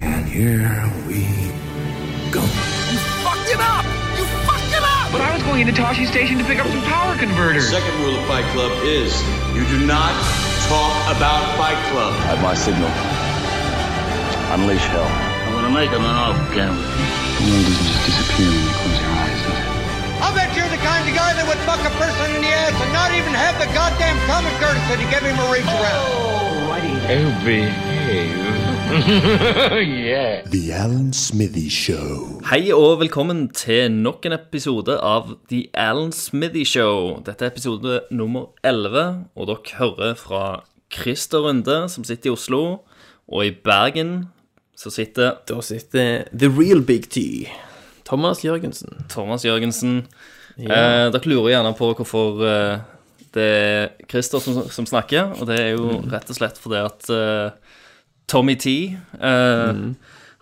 Here we go. Fucked it up! You fucked it up! But I was going into Toshi Station to pick up some power The converters. second rule of Fight Club is you do not talk about Fight Club. At my signal, unleash hell. I'm gonna make him an off camera. The world doesn't just disappear when you close your eyes, does it? I bet you're the kind of guy that would fuck a person in the ass and not even have the goddamn common courtesy to give him a reach around. Oh, behave. yeah. The Alan Smithy Show. Hei og velkommen til nok en episode av The Alan Smithy Show. Dette er episode nummer 11, og dere hører fra Christer Runde, som sitter i Oslo, og i Bergen, så sitter Da sitter The Real Big T. Thomas Jørgensen. Thomas Jørgensen. Eh, dere lurer gjerne på hvorfor eh, det er Christer som, som snakker, og det er jo Mm. rett og slett fordi at eh, Tommy T eh, Mm.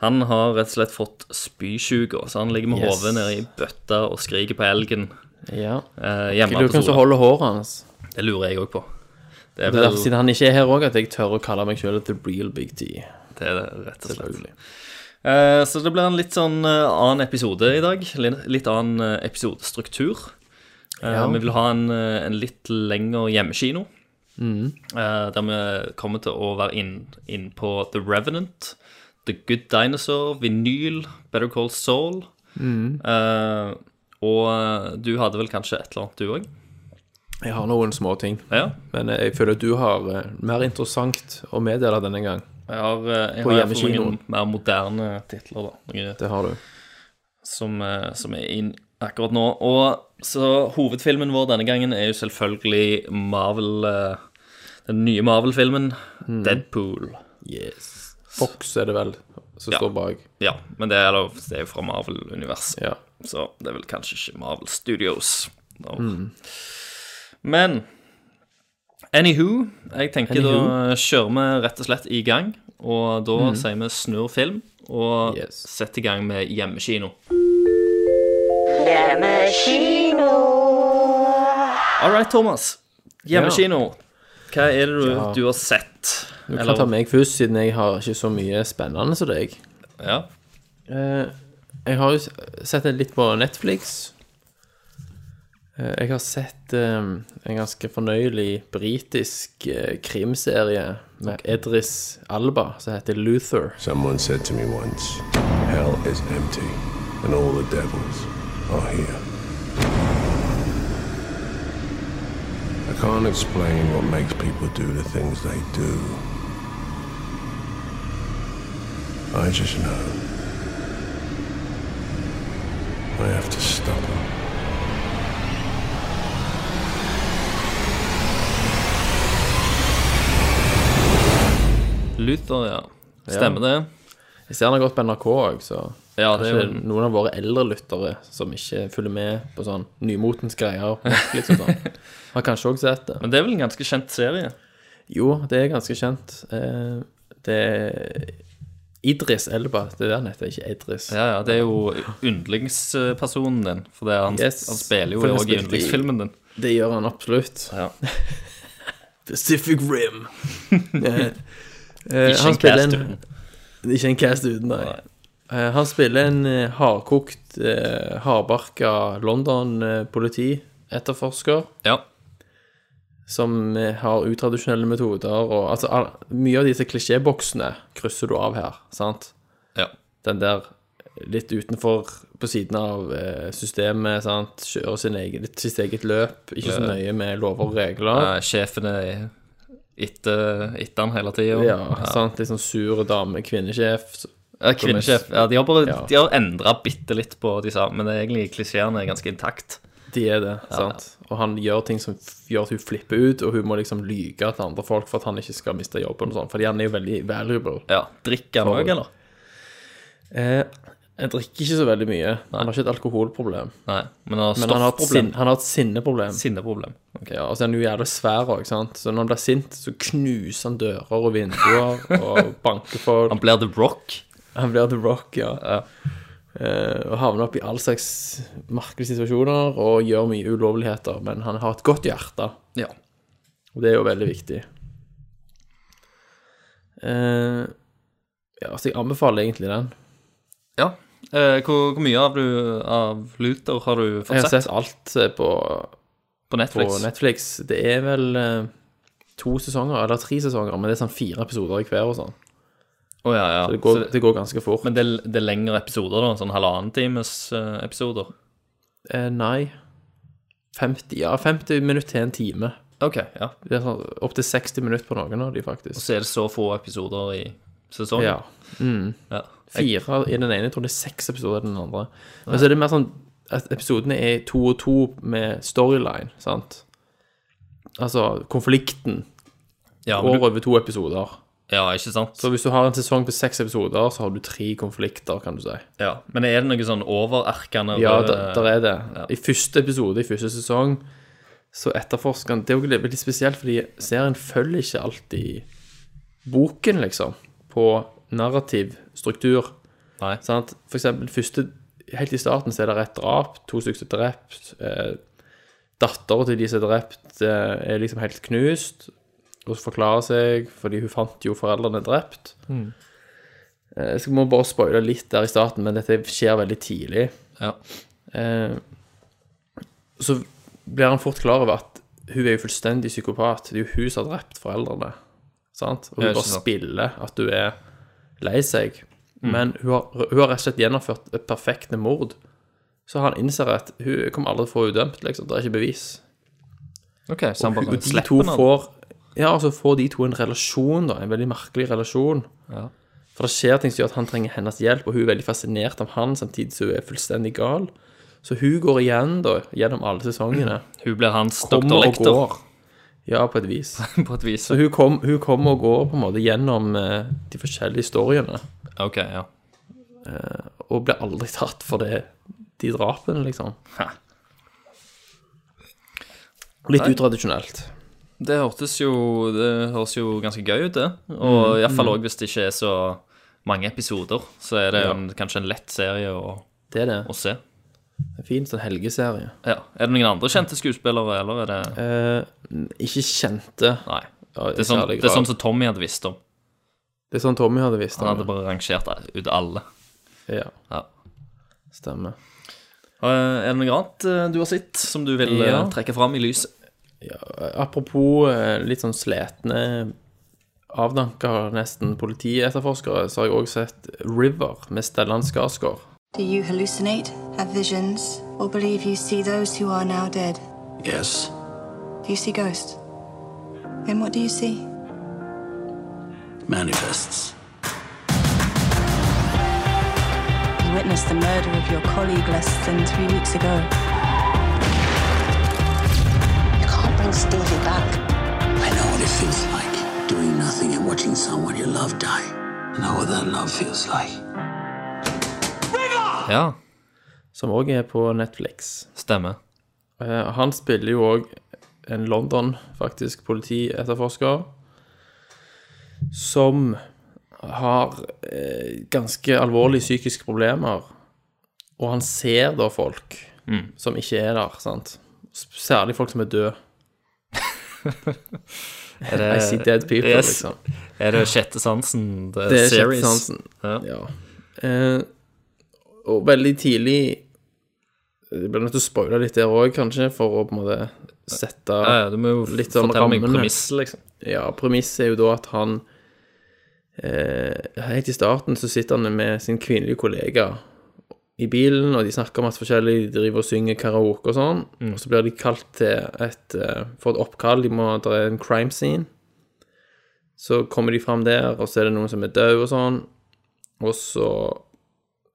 Han har rett og slett fått spysjuke, så han ligger med Yes. hodet nede i bøtta og skriker på elgen. Ja. Eh, Jeg hjemme lurer på på hvem som Sola. holder håret hans. Det lurer jeg òg på. Det er, Det er vel, derfor, siden han ikke er her òg, at jeg tør å kalle meg sjøl The Real Big T. det er det, rett og slett. Selvfølgelig. Eh, så det blir en litt sånn eh, annen episode i dag. Litt, litt annen eh, episodestruktur. Eh, Ja. Vi vil ha en, eh, en litt lengre hjemmekino. Mm. Eh, der vi kommer til å være inn, inn på The Revenant, The Good Dinosaur, Vinyl, Better Call Soul. Mm. Eh, og eh, du hadde vel kanskje et eller annet, du òg? Jeg har noen småting, Ja. men eh, jeg føler at du har eh, mer interessant å meddele denne gang. Jeg har, eh, jeg På har i hvert fall noen hjemmekinoen. mer moderne titler, da. Noen Det har du. som, eh, som er inn akkurat nå. Og så hovedfilmen vår denne gangen er jo selvfølgelig Marvel eh, Den nye Marvel-filmen Deadpool. Mm. Yes. Fox er det vel som står bak. Ja, men det er, da- det er jo fra Marvel-universet, Ja. så det er vel kanskje ikke Marvel Studios. Da. Mm. Men anywho, jeg tenker da kjører vi rett og slett i gang. Og da sier vi snurr film, og Mm. Yes. setter i gang med hjemmekino. All right, Thomas. Hjemmekino. Hva er det du, Ja. du har sett? Du kan ta meg først, siden jeg har ikke så mye spennende som deg. Ja. Eh, Jeg har jo s- sett det litt på Netflix. Eh, Jeg har sett eh, en ganske fornøyelig britisk eh, krimserie med Edris Alba, som heter Luther. Someone said to me once, Hell is empty, and all the devils are here. I can't explain what makes people do the things they do. I just know. I have to stop them. Luther, ja. Stemmer det? Jeg ser den har gått på NRK òg, så Ja, det er kanskje jo noen av våre eldre lyttere som ikke følger med på sånn nymotens greier på Netflix og sånn, har kanskje òg sett det. Men det er vel en ganske kjent serie? Jo, det er ganske kjent. Eh, Det er Idris Elba, det er der han heter, ikke Edris. Ja, ja, det er jo yndlingspersonen din. For det er han, Yes. han spiller jo For han også i spilte i- yndlingsfilmen din. Det gjør han absolutt. Ja. Pacific Rim. Eh, eh, Ikke han en cast spiller en- uten. Ikke en cast uten, nei. Eh, Han spiller en eh, hardkokt, eh, hardbarka eh, London-politi-etterforsker Ja. som eh, har utradisjonelle metoder og altså, all, Mye av disse klisjéboksene krysser du av her, sant? ja. Den der litt utenfor, på siden av eh, systemet, sant? Kjører sin egen, litt sitt eget løp, ikke så nøye med lover og regler. Eh, Sjefen er etter, etter han hele tida. Ja, sant. Litt sånn sur dame, kvinnesjef. så- Kvinnesjef. Ja, de har bare Ja. de har endra bitte litt på de sa, men det er egentlig klisjeene er ganske intakt. De er det, sant. Og han gjør ting som f- gjør at hun flipper ut, og hun må liksom lyge til andre folk for at han ikke skal miste jobben og sånn, fordi han er jo veldig valuable. Ja. Drikker han For- òg, eller? Eh, jeg drikker ikke så veldig mye. Han har ikke et alkoholproblem. Nei, men han har Men han har et, sin, stoffproblem. han har et sinneproblem. Sinneproblem. Ok. Ja, og så er han jo jævlig svær òg, sant. Så når han blir sint, så knuser han dører og vinduer og banker folk. Han blir The Rock. Han blir The Rock, ja. Eh, og havner opp i all slags merkelige situasjoner og gjør mye ulovligheter. Men han har et godt hjerte, Ja. og det er jo veldig viktig. Eh, Ja, altså, jeg anbefaler egentlig den. Ja. Eh, hvor, hvor mye av, du, av Luther har du fått Jeg har sett, sett alt eh, på, på på Netflix? Netflix. Det er vel eh, to sesonger, eller tre sesonger, men det er sånn fire episoder i hver og sånn. Å, ja, ja. Så det går, Så det- det går ganske fort. men det, er- det er lengre episoder, da? Sånn halvannen times eh, episoder? Eh, nei 50, Ja, 50 minutter til en time. OK, ja. Det er sånn, Opptil 60 minutter på noen av de, Og faktisk. så er det så få episoder i sesongen? Ja. Ja. Jeg, Fire i den ene, jeg tror det er seks episoder i den andre. Men så er det mer sånn at episodene er to og to med storyline, sant? Altså konflikten ja, men går du, over to episoder. ja, ikke sant? Så hvis du har en sesong på seks episoder, så har du tre konflikter, kan du si. Ja. Men er det noe sånn eh, overerkende Ja, rød- der, der er det. I første episode i første sesong så etterforsker han Det er jo litt litt spesielt, fordi serien følger ikke alltid boken, liksom, på narrativ struktur. Nei. Sant? For eksempel første Helt i starten så er det et drap, to stykker er drept. Eh, Datteren til de som er drept, eh, er liksom helt knust. Og så forklarer seg, fordi hun fant jo foreldrene drept. Eh, Jeg skal- må bare spoile litt der i starten, men dette skjer veldig tidlig. Ja. Eh, så blir han fort klar over at hun er jo fullstendig psykopat. Det er jo hun som har drept foreldrene. Sant? Og Ja, hun ikke bare sant. Mm. spiller at hun er lei seg. Men hun har, hun har rett og slett gjennomført et perfekte mord. Så han innser at hun kommer aldri til å få henne dømt. Liksom. Det er ikke bevis. OK, så han Og bare de to slipper den? får Ja, altså får de to en relasjon, da. En veldig merkelig relasjon. Ja. For det skjer ting som gjør at han trenger hennes hjelp, og hun er veldig fascinert av han, samtidig som hun er fullstendig gal. Så hun går igjen, da, gjennom alle sesongene. Hun blir hans doktor Kommer og Lekter, går. Ja, på et vis. på et vis. Så hun kom- hun kommer og går på en måte gjennom eh, de forskjellige historiene, OK, ja. og blir aldri tatt for det, de drapene, liksom. Hæ. Litt utradisjonelt. Det hørtes jo, det høres jo ganske gøy ut, det. Og i hvert fall òg hvis det ikke er så mange episoder, så er det en, kanskje en lett serie å, Det er det. å se. En fin sånn helgeserie. Ja. Er det noen andre kjente skuespillere, eller er det Eh, ikke kjente. Nei. Ja, Det er sånn, særlig det er sånn grad. som Tommy hadde visst om. det er sånn Tommy hadde visst. Han hadde om det. bare rangert ut alle. Ja, Ja. stemmer. Eh, Er det noe annet eh, du har sett som du vil eh, Ja. trekke fram i lyset? Apropos eh, litt sånn sletne, avdanka nesten politietterforskere, så har jeg òg sett River med Stellan Skarsgård. Do you hallucinate, have visions, or believe you see those who are now dead? Yes. Do you see ghosts? Then what do you see? Manifests. You witnessed the murder of your colleague less than three weeks ago. You can't bring Stevie back. I know what it feels like doing nothing and watching someone you love die. I know what that love feels like. Ja, Som òg er på Netflix. stemmer. Eh, Han spiller jo òg en London, faktisk, politietterforsker som har eh, ganske alvorlige psykiske problemer. Og han ser da folk Mm. som ikke er der, sant. Særlig folk som er døde. Er det, I see dead people, Eh, Yes. liksom. Er det Sjette sansen? The Det er series? Kjetil Hansen. Ja. Ja. Eh, og veldig tidlig Jeg blir nødt til å spoile litt der òg, kanskje, for å på en måte sette Ja, ja, du må jo Litt sånn fortelle meg rammene. premiss, liksom. Ja, premisset er jo da at han eh, Helt i starten så sitter han med sin kvinnelige kollega i bilen, og de snakker om at forskjellige de driver og synger karaoke og sånn. Mm. Og så blir de kalt til et eh, For et oppkall. De må Det er en crime scene. Så kommer de fram der, og så er det noen som er død og sånn. Og så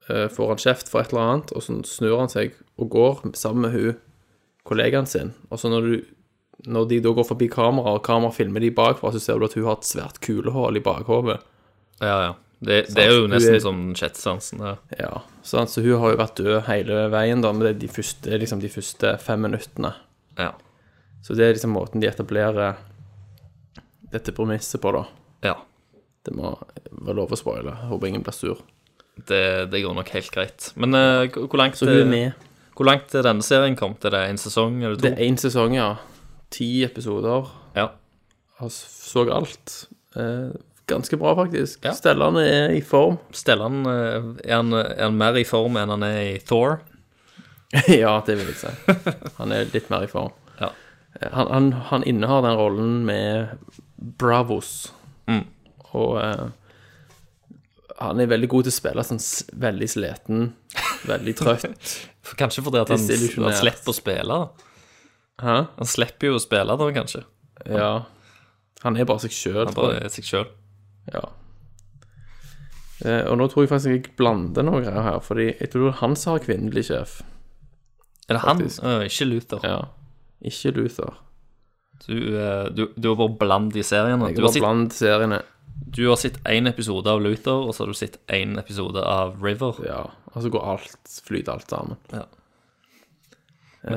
eh, får han kjeft for et eller annet, og så snur han seg og går sammen med hun kollegaen sin. Og så når du når de da går forbi kamera, og kamera filmer de bakfra, så ser du at hun har et svært kulehull i bakhodet. Ja, ja. Det, det er jo Sansen. nesten Du er- som Sjette sansen. Ja. Ja, sant? Så hun har jo vært død hele veien, da, men det er de første, det er liksom de første fem minuttene. Ja. Så det er liksom måten de etablerer dette premisset på, da. ja. Det må være lov å spoile. Håper ingen blir sur. Det, det går nok helt greit. Men eh, hvor- hvor langt, Så hun er med. hvor langt er denne serien kommet? Er det en sesong eller to? Det er én sesong, ja. Ti episoder. Ja. Jeg så alt. Eh, ganske bra, faktisk. Stellan er i form. Stellan eh, er han, er han mer i form enn han er i Thor. ja, det vil jeg si. Han er litt mer i form. Eh, Han, han, han innehar den rollen med bravos. Mm. Og eh, han er veldig god til å spille sånn s- veldig sliten, veldig trøtt. Kanskje fordi at han, Desillusjonert. han slipper å spille. da. Han slipper jo å spille da, kanskje. Ja. Han er bare seg sjøl. Han bare er seg sjøl. Ja. Eh, og nå tror jeg faktisk jeg blander noe greier her, fordi jeg tror det er han som har kvinnelig sjef. Er det han? Å, ikke Luther. Ja. Ikke Luther. Du, eh, du, du er bare bland i seriene. Jeg Du er har, bare sett, blant seriene. du har sett én episode av Luther, og så har du sett én episode av River. Ja. Og så går alt, flyter alt sammen. Ja. Eh,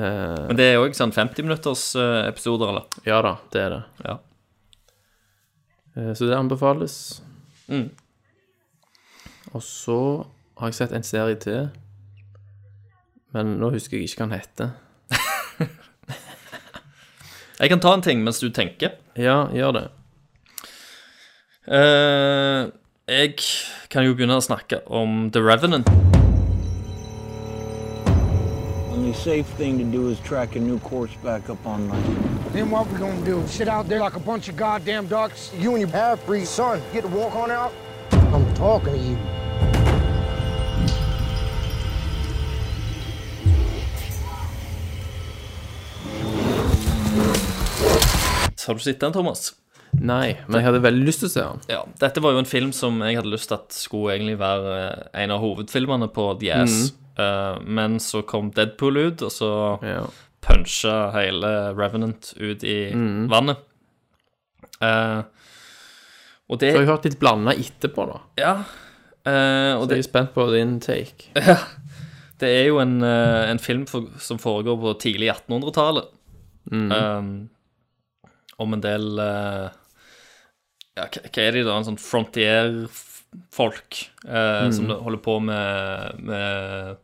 Men det er òg sånn 50-minutters-episoder, eller? ja da, det er det. Ja. Eh, så det anbefales. Mm. Og så har jeg sett en serie til, men nå husker jeg ikke hva den heter. Jeg kan ta en ting mens du tenker. Ja, gjør det. Eh, jeg kan jo begynne å snakke om The Revenant. Only safe thing to do is track a new course back up online. Then what we gonna do? Sit out there like a bunch of goddamn ducks? You and your half-breed son get to walk on out? I'm talking to you. Så har du sett den, Thomas? Nei, men jeg hadde veldig lyst til å se den. Ja, dette var jo en film som jeg hadde lyst til at skulle egentlig være eh, en av hovedfilmene på The Ass. Mm. Eh, men så kom Deadpool ut, og så puncha hele Revenant ut i Mhm. vannet. Eh, og det Så jeg har hørt litt blanda etterpå, da. Ja. eh, og Så det, Eh, jeg er spent på din take. ja. Det er jo en, eh, en film for, som foregår på tidlig 1800-tallet. Mhm. Um, om en del eh, ja, hva- Hva er de da? En sånn frontier-folk eh, Mhm. som da holder på med, med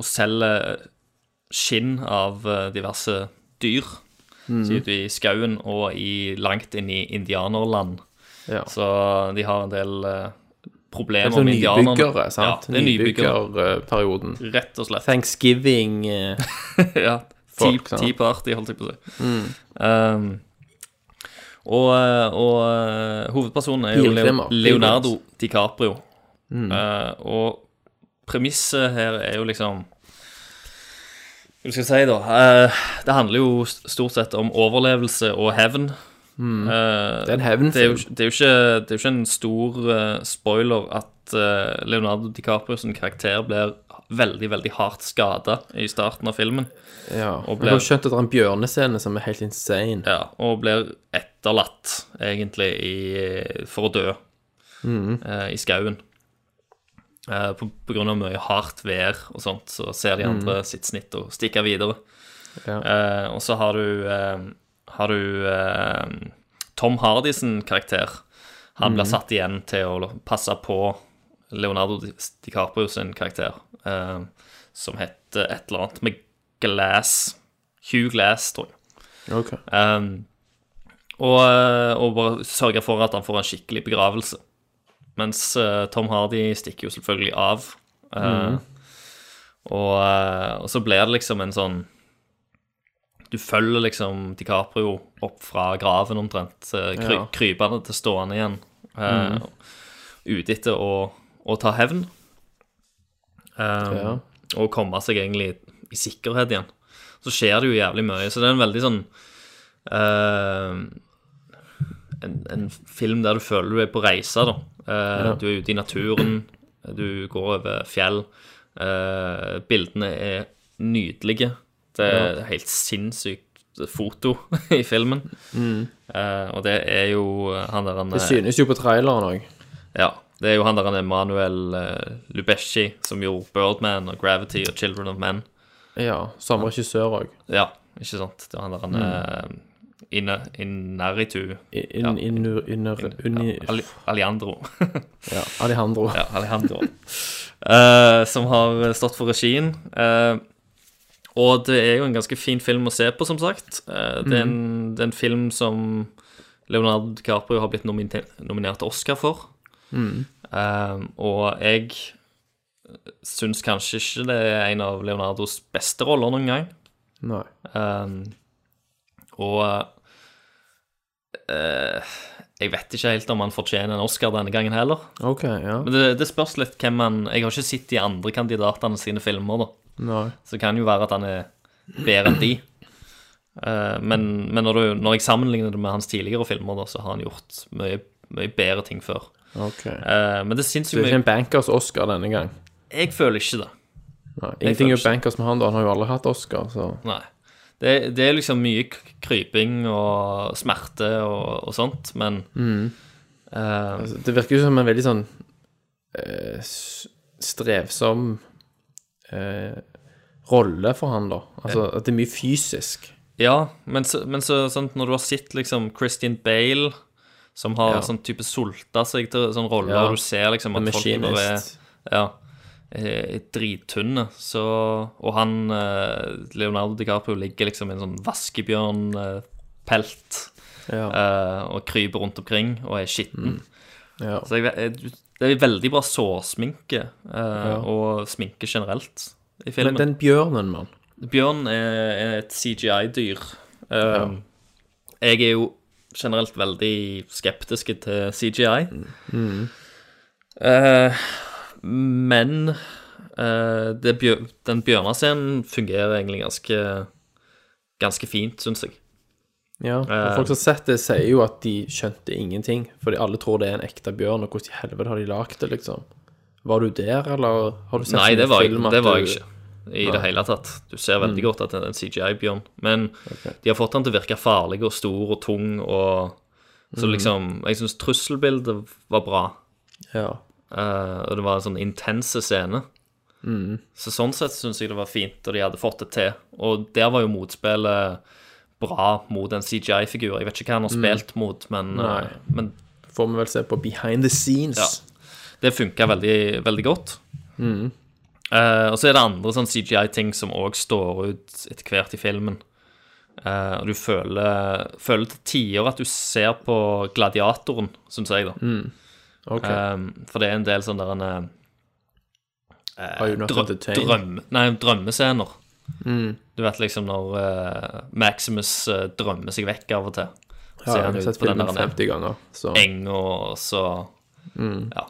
å selge skinn av eh, diverse dyr. Mhm. Så ute i skauen og i, langt inn i indianerland. Ja. Så de har en del eh, Det problemer er sånn med indianerne. nybyggere, sant? Ja, eh, det er nybyggere. Nybyggerperioden. Rett og slett. Thanksgiving eh, ja. Tea, folk, sant? tea party, holdt jeg på å si. Mm. Um, og eh, og eh, hovedpersonen er jo Biltrimmer. Leo- Leonardo DiCaprio. Mm. Eh, og premisset her er jo liksom Hva skal jeg si, da? Eh, det handler jo s- stort sett om overlevelse og hevn. Mm. Eh, Det er en hevnfilm. Det er jo, det er jo, ikke, det er jo ikke en stor eh, spoiler at eh, Leonardo DiCaprio sin karakter blir veldig, veldig hardt skada i starten av filmen. Ja. Og Jeg ble- har skjønt at det er en bjørnescene som er helt insane. Ja, og blir etterlatt, egentlig, i, for å dø Mhm. eh, i skauen. Eh, på, på grunn av mye hardt vær og sånt, så ser de andre sitt snitt og stikker videre. Mhm. Ja. Eh, og så har du, eh, har du eh, Tom Hardy sin karakter. Han Mhm. blir satt igjen til å passe på Leonardo Di- DiCaprio sin karakter, eh, som heter et eller annet med Glass. Hugh Glass, tror jeg. Ok. Um, og, eh, og bare sørge for at han får en skikkelig begravelse. Mens eh, Tom Hardy stikker jo selvfølgelig av. Eh, Mhm. og, eh, og så blir det liksom en sånn Du følger liksom DiCaprio opp fra graven omtrent, eh, kry, Ja. krypende til stående igjen, eh, Mhm. ute etter å, å ta hevn. Um, Ja. Og komme seg egentlig i sikkerhet igjen. Så skjer det jo jævlig mye. Så det er en veldig sånn eh, en, en film der du føler du er på reise, da. Eh, Ja. Du er ute i naturen, du går over fjell. eh, bildene er nydelige. Det er Ja. helt sinnssykt foto i filmen. Mm. Eh, og det er jo eh, han der han Det synes jo på traileren òg. ja, det er jo han der han Emanuel eh, Lubezki som gjorde Birdman og Gravity og Children of Men. Ja. Samme regissør òg. Ja, ikke sant? Det er han der han eh, Inna- Inarritu Ja. Inni Ali- Alejandro. Ja. Alejandro. ja, Alejandro. Eh, som har stått for regien. Eh, og det er jo en ganske fin film å se på, som sagt. Eh, det, er en, det er en film som Leonardo DiCaprio har blitt nomine- nominert til Oscar for. Mm. Um, og jeg syns kanskje ikke det er en av Leonardos beste roller noen gang. Nei. Um, og eh, jeg vet ikke helt om han fortjener en Oscar denne gangen heller. OK, ja. Men det, det spørs litt hvem han Jeg har ikke sett de andre kandidatene sine filmer, da. Nei. Så det kan jo være at han er bedre enn de. Eh, men men når, du, når jeg sammenligner det med hans tidligere filmer, da, så har han gjort mye, mye bedre ting før. Ok. Eh, men det syns Så jo det er ikke en mye bankers Oscar denne gang. Jeg føler ikke det. Nei, Jeg ingenting er føler jo bankers med han, da. Han har jo aldri hatt Oscar, så Nei. Det, det er liksom mye k- kryping og smerte og, og sånt, men Mhm. eh, altså, Det virker jo som en veldig sånn eh, s- strevsom eh, rolle for han, da. Altså at det er mye fysisk. Ja, men, så, men så, sånn, når du har sett liksom Christian Bale, som har Ja. sånn type sulta seg til sånn roller, Ja. og du ser liksom The at folk bare er Machinist. ja, er drittynne, så Og han eh, Leonardo DiCaprio ligger liksom i en sånn vaskebjørnpelt eh, og kryper rundt omkring og er skitten. Mm. Ja. Så jeg, vet- jeg, det er veldig bra sårsminke, eh, og sminke generelt, i filmen. Men den bjørnen, mann. Bjørn er, er et CGI-dyr. Eh, Jeg er jo generelt veldig skeptisk til CGI. Mm. Eh, men eh, det bjør, den bjørnescenen fungerer egentlig ganske, ganske fint, syns jeg. Ja, og Eh. folk som har sett det, sier jo at de skjønte ingenting. Fordi alle tror det er en ekte bjørn, og hvordan i helvete har de lagd det, liksom? Var du der, eller har du sett Nei, sånne det var, jeg, film at det var du- jeg ikke i det Nei. hele tatt. Du ser veldig Mm. godt at det er en CGI-bjørn. Men de har fått han til å virke farlig og stor og tung og Så Mhm. liksom Jeg syns trusselbildet var bra. Ja. Eh, og det var en sånn intense scene. Mm. Så sånn sett syns jeg det var fint, og de hadde fått det til. Og der var jo motspillet bra mot en CGI-figur. Jeg vet ikke hva han har Mm. spilt mot, men, eh, Nei. men Får vi vel se på behind the scenes. ja. Det funka veldig, veldig godt. Mm. Eh, og så er det andre sånn CGI-ting som òg står ut etter hvert i filmen. Eh, og du føler, føler til tider at du ser på Gladiatoren, syns jeg, da. Mm. Ok. Eh, for det er en del sånne der en, eh, Are you not drø- entertained? drøm, nei, drømmescener. Mm. Du vet liksom når eh, Maximus eh, drømmer seg vekk av og til. Så ser Ja, jeg han har ut sett på den filmen der en 50 ganger, så- Enga, og så Mm. Ja.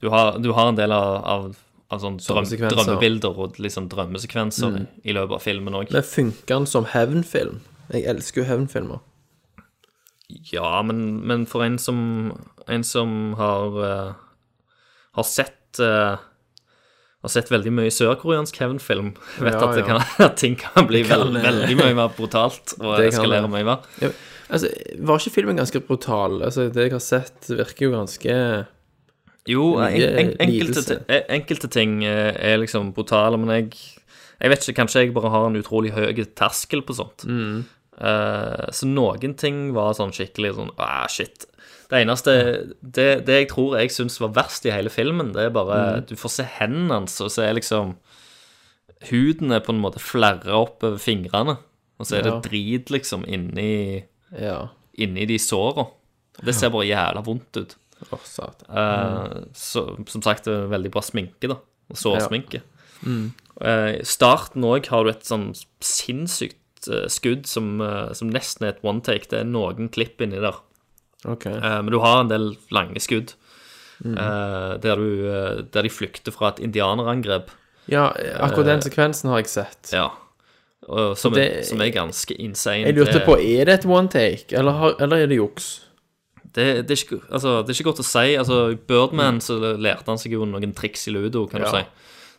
Du har, du har en del av, av, av sånn Sånne drøm, sekvenser. drømmebilder og liksom drømmesekvenser Mm. i løpet av filmen òg. Men funker den som hevnfilm? Jeg elsker jo hevnfilmer. Ja, men, men for en som, en som har, eh, har sett eh, har sett veldig mye sørkoreansk hevnfilm. Vet Ja, at, det ja. kan, at ting kan bli Det kan, vel- eh, veldig mye mer brutalt og Det kan eskalere det. mye mer. Ja, altså, var ikke filmen ganske brutal? Altså, det jeg har sett, virker jo ganske Jo, Mye en, en, enkelte, lidelse. ti- enkelte ting eh, er liksom brutale, men jeg, jeg vet ikke, kanskje jeg bare har en utrolig høy terskel på sånt. Mm. Eh, så noen ting var sånn skikkelig sånn ah, shit. Det eneste Det, det jeg tror jeg syns var verst i hele filmen, det er bare Mm. Du får se hendene hans, og så er liksom Huden er på en måte flerra opp over fingrene, og så er Ja. det drit liksom inni Ja. Inni de såra. Det ser bare jævla vondt ut. Å, satan. Eh, så, som sagt, det er veldig bra sminke, da. Og Sårsminke. Mm. Eh, I starten òg har du et sånn sinnssykt eh, skudd som, eh, som nesten er et one take. Det er noen klipp inni der. Ok. Eh, men du har en del lange skudd Mm. eh, der, du, eh, der de flykter fra et indianerangrep. Ja, akkurat den Eh, sekvensen har jeg sett. Ja. Og, som, Det- er- som er ganske insane. Jeg lurte Det- på, er det et one take, eller, har, eller er det juks? det, det, er ikke, altså, det er ikke godt å si. Altså, I Birdman så lærte han seg jo noen triks i ludo, kan Mm. Ja. du si.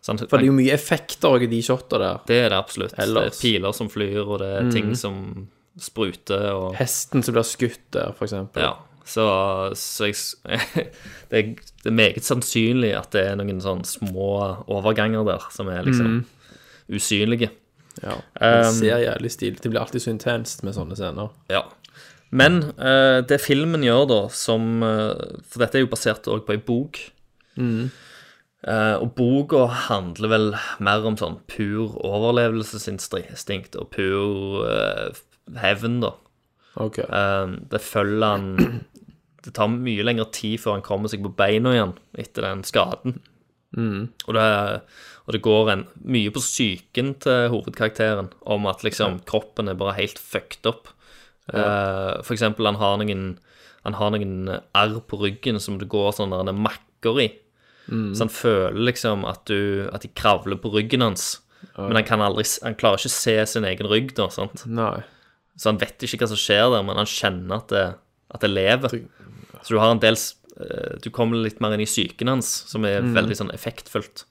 Så han- For det er jo mye effekter også i de shotta der. Det er det absolutt. Ellers. Det er piler som flyr, og det er ting Mhm. som spruter. Og, Hesten som blir skutt der, for eksempel. ja. Så, så jeg, s- det, er, det er meget sannsynlig at det er noen sånn små overganger der som er liksom Mhm. usynlige. Ja. Um, det ser jævlig stil. Det blir alltid så intenst med sånne scener. Ja. Men eh, det filmen gjør, da, som eh, For dette er jo basert òg på ei bok. Mm. Eh, og boka handler vel mer om sånn pur overlevelsesinstinkt og pur eh, hevn, da. Ok. Eh, det følger han Det tar mye lengre tid før han kommer seg på beina igjen etter den skaden. Mm. Og det, og det går en, mye på psyken til hovedkarakteren, om at liksom kroppen er bare helt fucked up. Eh, for eksempel, han har noen Han har noen arr på ryggen som det går sånne der makker i. Mm. Så han føler liksom at, du, at de kravler på ryggen hans. Men han, kan aldri, s- han klarer ikke å se sin egen rygg, da. sant? Nei. Så han vet ikke hva som skjer der, men han kjenner at det, at det lever. Så du har en del s- eh, Du kommer litt mer inn i psyken hans, som er Mm. veldig sånn effektfullt.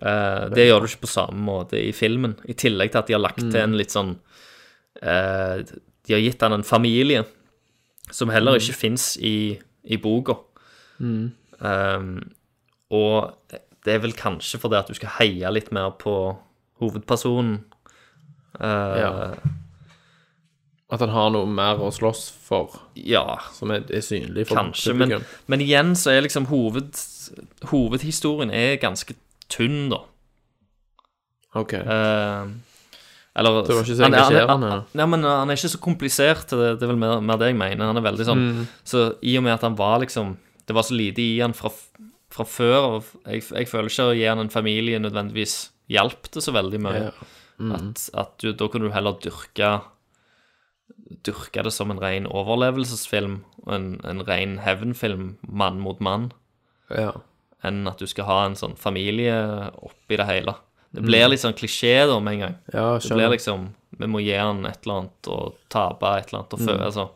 Eh, det gjør du ikke på samme måte i filmen. I tillegg til at de har lagt til en Mm. litt sånn eh, De har gitt han en familie som heller Mm. ikke fins i, i boka. Mm. Ehm, og det er vel kanskje fordi at du skal heie litt mer på hovedpersonen. Eh, Ja. At han har noe mer å slåss for Ja. som er, er synlig for Kanskje, men, publikum. men igjen så er liksom hoved, hovedhistorien er ganske tynn, da. Ok. Eh, eller Det var ikke så han er- han er- engasjerende, han- Nei, men han er ikke så komplisert, det, det er vel mer, mer det jeg mener. Han er veldig sånn Mm. Så i og med at han var liksom Det var så lite i han fra, f- fra før, og jeg, jeg føler ikke å gi han en familie nødvendigvis hjalp det så veldig mye. Ja. Mm. At, at du, da kunne du heller dyrke Dyrke det som en ren overlevelsesfilm og en, en ren hevnfilm, mann mot mann Ja. enn at du skal ha en sånn familie oppi det hele. Det Mm. blir litt sånn klisjé da med en gang. Ja, det skjønner. blir liksom Vi må gi han et eller annet og tape et eller annet og fø, Mm. altså.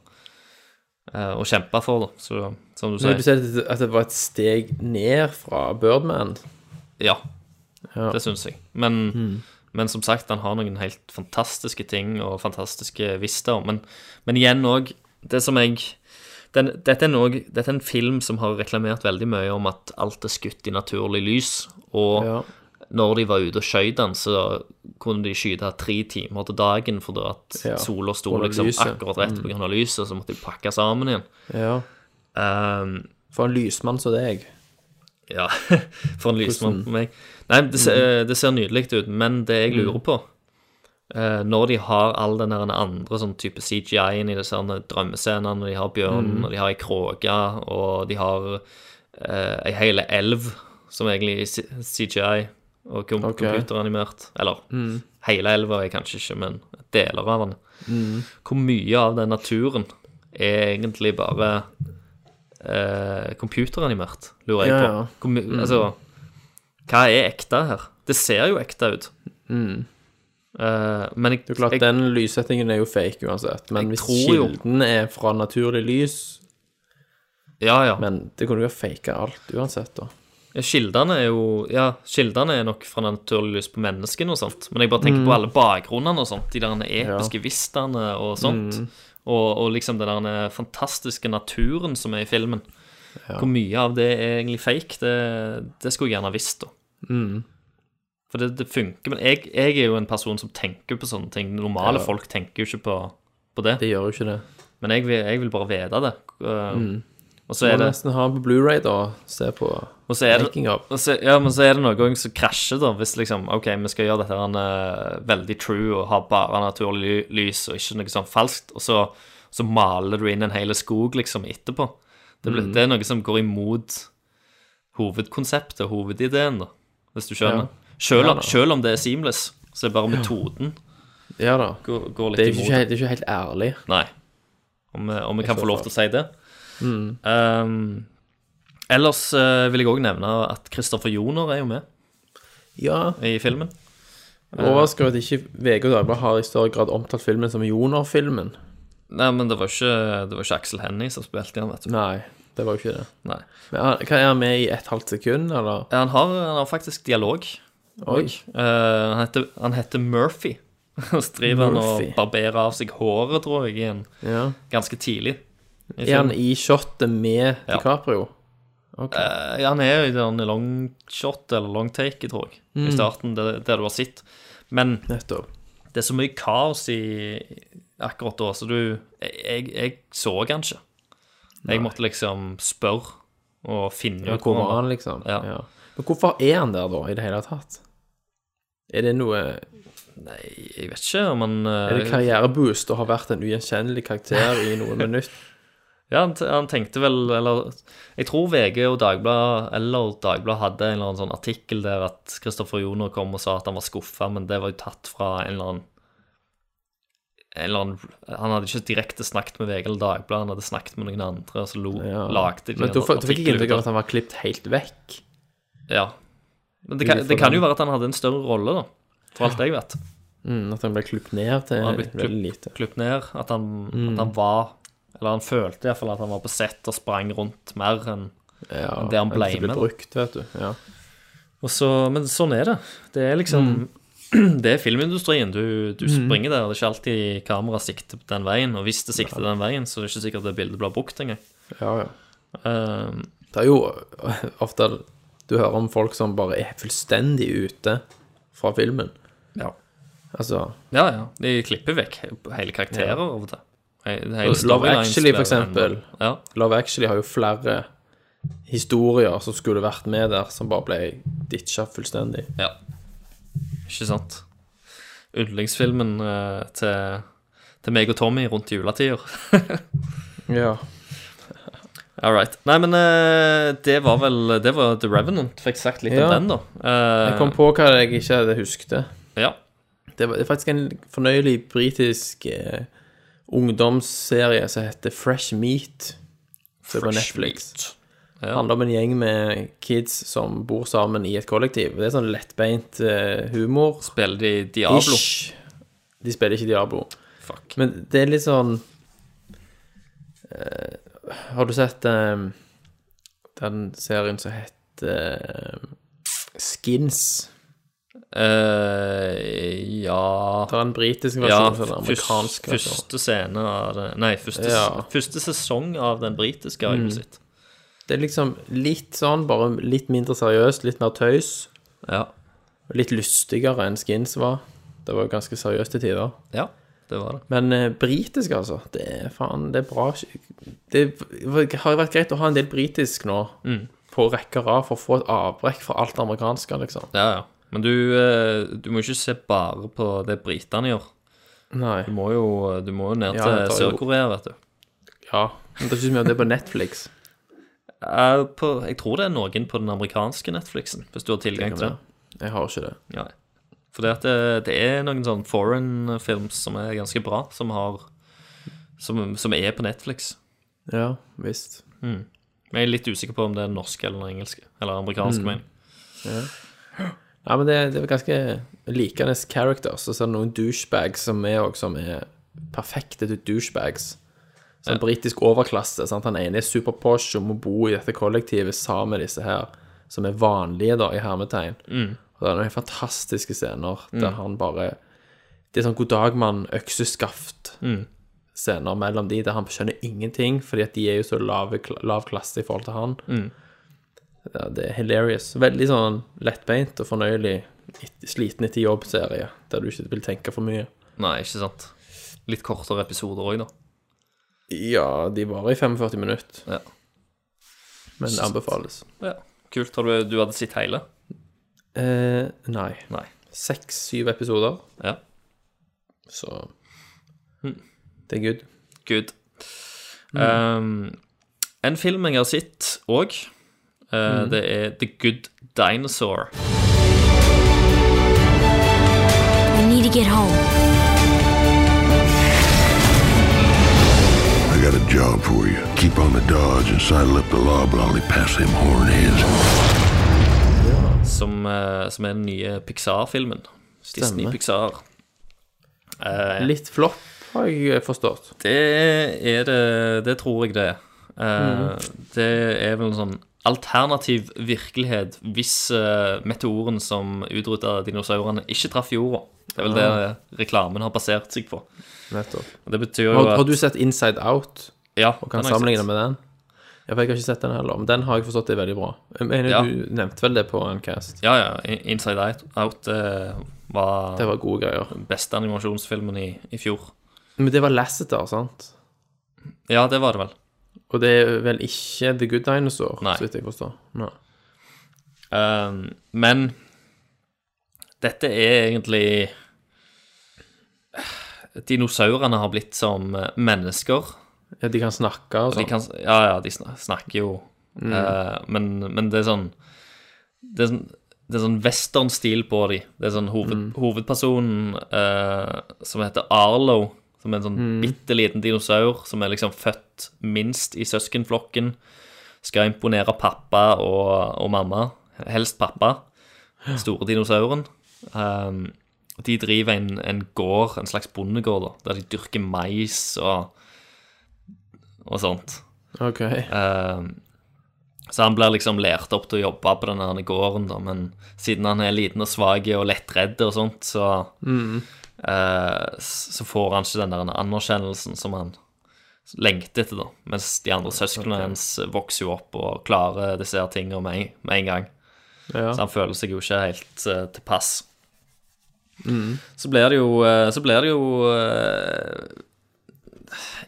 eh, Og kjempe for, da, så, som du sier. Men du sier at det- at det var et steg ned fra Birdman. Ja, Ja. det syns jeg. Men, Mm. men som sagt, han har noen helt fantastiske ting og fantastiske vister. Men, men igjen òg, det som jeg den, dette, er en og, dette er en film som har reklamert veldig mye om at alt er skutt i naturlig lys. Og Ja. når de var ute og skjøt den, så kunne de skyte tre timer til dagen fordi at Ja, sola sto på grunn av liksom lyset. akkurat rett Mm. pga. av lyset, så måtte de pakke sammen igjen. Ja. Ehm, For en lysmann som deg. ja, for en lysmann Hvordan? Mm. på meg. Nei, det, ser- eh, det ser nydelig ut, men det jeg lurer på eh, Når de har all den der andre sånn type CGI-en i disse her drømmescenene, når de har bjørnen, Mm. og de har ei kråke, og de har eh, ei hele elv som egentlig er C- CGI og kom Ok. computeranimert Eller Mm. hele elva er kanskje ikke, men deler av den. Mm. Hvor mye av den naturen er egentlig bare eh, computeranimert, lurer jeg Ja, på. ja. Hvor my- Mm. Altså, hva er ekte her? Det ser jo ekte ut. Mm. Eh, men jeg, Det er klart, jeg, Den lyssettingen er jo fake uansett. Men Jeg hvis tror jo- kilden er fra naturlig lys ja, ja. Men det kunne jo ha faka alt uansett, da. Kildene er jo Ja, kildene er nok fra naturlig lys på menneskene og sånt. Men jeg bare tenker Mm. på alle bakgrunnene og sånt. De der episke vistene og sånt. Mm. Og, og liksom den der fantastiske naturen som er i filmen. Ja. Hvor mye av det er egentlig fake, det, det skulle jeg gjerne visst, da. Mm. For det, det funker. Men jeg, jeg er jo en person som tenker på sånne ting. Normale Ja. folk tenker jo ikke på, på det. Det gjør jo ikke det. Men jeg, vil- jeg vil bare vite det. Uh, Mm. Og Så så er må det nesten ha den på Blu-ray da. Se på Og så er det, making of. og så, ja, men så er det noen ganger som krasjer, da. Hvis liksom OK, vi skal gjøre dette her en, eh, veldig true og ha bare naturlig ly- lys og ikke noe sånn falskt, og så, så maler du inn en hel skog liksom etterpå. Det, blir- Mhm. det er noe som går imot hovedkonseptet, hovedideen, da, hvis du skjønner. Ja. Selv, Ja om, da. selv om det er seamless, så er bare metoden Ja da. går, går Det litt er jo imot. ikke, helt- det er ikke helt ærlig. Nei. Om, vi- om vi I kan så få lov til fall. å si det. Mm. Ehm, ellers eh, vil jeg òg nevne at Kristoffer Joner er jo med Ja. i filmen. Overrasker at ikke VG og Dagbladet har i større grad omtalt filmen som Joner-filmen. Nei, men det var ikke, det var ikke Aksel Hennie som spilte i han, vet du. Nei, det var jo ikke det. Nei. Men han- hva Er han med i et halvt sekund, eller? Ja, Han har, han har faktisk dialog. Oi. Og, eh, han, heter, han heter Murphy. Og så driver han og Murphy. barberer av seg håret, tror jeg, igjen. Ja. ganske tidlig. i Er han filmen. i shotet med Ja. DiCaprio? Ok. Eh, ja, han er jo i den long shot, eller long take, tror jeg, Mm. i starten, der, der du har sett. Men Nettopp. det er så mye kaos i akkurat da, så du Jeg, jeg så han ikke. Jeg måtte liksom spørre og finne Ja, ut hvor var han, liksom? Ja. Men hvorfor er han der, da, i det hele tatt? Er det noe Nei, jeg vet ikke om han eh, Er det karriereboost å ha vært en ugjenkjennelig karakter i noen minutter? Ja, han, t- han tenkte vel Eller jeg tror VG og Dagbladet eller Dagbladet hadde en eller annen sånn artikkel der at Kristoffer Joner kom og sa at han var skuffa, men det var jo tatt fra en eller annen en eller annen, Han hadde ikke direkte snakket med VG eller Dagbladet, han hadde snakket med noen andre, og så lo, lagde de Men en da f- da fikk jeg artikkel inntrykk ut av at han var klippet helt vekk. Ja. Men det kan, det kan jo være at han hadde en større rolle, da, for alt jeg vet. Mm, at han ble klippet ned Og til han ble veldig klipp- lite. klippet ned. At han, Mm. at han var Eller han følte iallfall at han var på sett og sprang rundt mer enn enn det han ble at det med. ble da. brukt, vet du. Ja. Og så, men sånn er det. Det er liksom Det er filmindustrien. Du, du Mm. springer der. Det er ikke alltid kameraet sikter den veien. Og hvis det sikter den veien, så er det ikke sikkert det bildet blir brukt engang. Ja, ja. Ehm, Det er jo ofte du hører om folk som bare er fullstendig ute fra filmen. Ja. Altså ja, ja. De klipper vekk hele karakterer Ja. av og til. Hele Love storylines Actually, blir for en- eksempel. Ja. Love Actually har jo flere historier som skulle vært med der, som bare ble ditcha fullstendig. Ja. Ikke sant? Yndlingsfilmen eh, til, til meg og Tommy rundt juletider. Ja. All right. Nei, men eh, det var vel Det var The Revenant. Fikk sagt litt Ja. om den, da. Eh, Jeg kom på hva jeg ikke hadde husket. Ja. Det var det er faktisk en fornøyelig britisk eh, ungdomsserie som heter Fresh Meat. Som er på Fresh Netflix. Ja. handler om en gjeng med kids som bor sammen i et kollektiv. Det er sånn lettbeint eh, humor. Spiller de Diablo? Ish. De spiller ikke Diablo. Men det er litt sånn eh, Har du sett eh, den serien som heter eh, Skins? Eh, ja Det er en britisk ja, versjon og en først- amerikansk versjon. første scene av det Nei, første, Ja. første sesong av den britiske har jeg vel Mm. sett. Det er liksom litt sånn, bare litt mindre seriøst, litt mer tøys. Ja. Og litt lystigere enn Skins var. Det var jo ganske seriøst til tider. Ja, det var det. Men eh, britisk, altså. Det er faen, det er bra Det har vært greit å ha en del britisk nå. Mm. På rekke og rad for å få et avbrekk fra alt det amerikanske, liksom. Ja, ja. Men du, eh, du må ikke se bare på det britene gjør. Nei. Du må jo, du må jo ned Ja, til jeg tar jo- Sør-Korea, vet du. Ja. Men det er ikke så mye om det er på Netflix. Eh, på, jeg tror det er noen på den amerikanske Netflixen, hvis du har tilgang Det kan til den. Jeg har ikke det. Ja. For det, at det, det er noen sånne foreign films som er ganske bra, som, har, som, som er på Netflix. Ja, visst. Mm. Men jeg er litt usikker på om det er norsk eller engelsk, eller amerikansk, Mm. mener jeg. Ja. Nei, men det, det er ganske likende characters. Og så er det noen douchebags som er også, som er perfekte til douchebags. Sånn britisk overklasse. sant? Han ene er superposh og må bo i dette kollektivet sammen med disse her, som er vanlige, da, i hermetegn. Mm. Og det er noen fantastiske scener Mm. der han bare Det er sånn god dag, mann, økseskaft. Mm. Scener mellom de der han skjønner ingenting, fordi at de er jo så lave, kla- lav klasse i forhold til han. Mm. Ja, det er hilarious. Veldig sånn lettbeint og fornøyelig et- sliten etter jobb-serie, der du ikke vil tenke for mye. Nei, ikke sant. Litt kortere episoder òg, da. Ja, de varer i 45 minutter. Ja. Men det anbefales. Ja. Kult. Har du, du hadde sett hele? Eh, nei. Nei. Seks-syv episoder. Ja. Så Mm. det er good. Good. Mm. Um, en film jeg har sett òg, eh, Mm. det er The Good Dinosaur. We need to get home. I got a job for you. Keep on the dodge and sidle up to Loblolly past them horn heads. Som, eh, som er den nye Pixar-filmen. Disney Pixar. Eh, Litt flopp, har jeg forstått. Det er det Det tror jeg det er. Eh, Mhm. Det er vel en sånn alternativ virkelighet hvis eh, meteoren som utrydda dinosaurene, ikke traff jorda. Det er vel det Ah. reklamen har basert seg på. Nettopp. Og Det betyr jo Har, har at du sett Inside Out? Ja, Og kan den har jeg sammenligne sett. med den? Ja, for jeg har ikke sett den heller, men den har jeg forstått er veldig bra. Jeg mener, Ja. Du nevnte vel det på en cast? Ja, ja. In- Inside Out, Out eh, var Det var gode greier. den beste animasjonsfilmen i, i fjor. Men det var Lasseter, sant? Ja, det var det vel. Og det er vel ikke The Good Dinosaur, Nei. så vidt jeg forstår. Nei. Um, men Ehm, Dette er egentlig Dinosaurene har blitt som mennesker. Ja, de kan snakke og De sånn. kan, ja, ja, de snak- snakker jo. Mm. Eh, men, men det er sånn Det er sånn, det er sånn western-stil på de. Det er sånn hoved, Mm. hovedpersonen eh, som heter Arlo, som er en sånn Mm. bitte liten dinosaur som er liksom født minst i søskenflokken. Skal imponere pappa og, og mamma. Helst pappa. Den store dinosauren. Ehm, de driver en, en gård, en slags bondegård, da, der de dyrker mais og, og sånt. Ok. Ehm, så han blir liksom lært opp til å jobbe på den her gården, da, men siden han er liten og svak og lettredd og sånt, så, Mm. eh, s- så får han ikke den der anerkjennelsen som han lengter etter, da. Mens de andre søsknene hans vokser jo opp og klarer disse her tingene med, en- med en gang. Ja. Så han føler seg jo ikke helt eh, tilpass. Mm. Så blir det jo eh, Så blir det jo eh,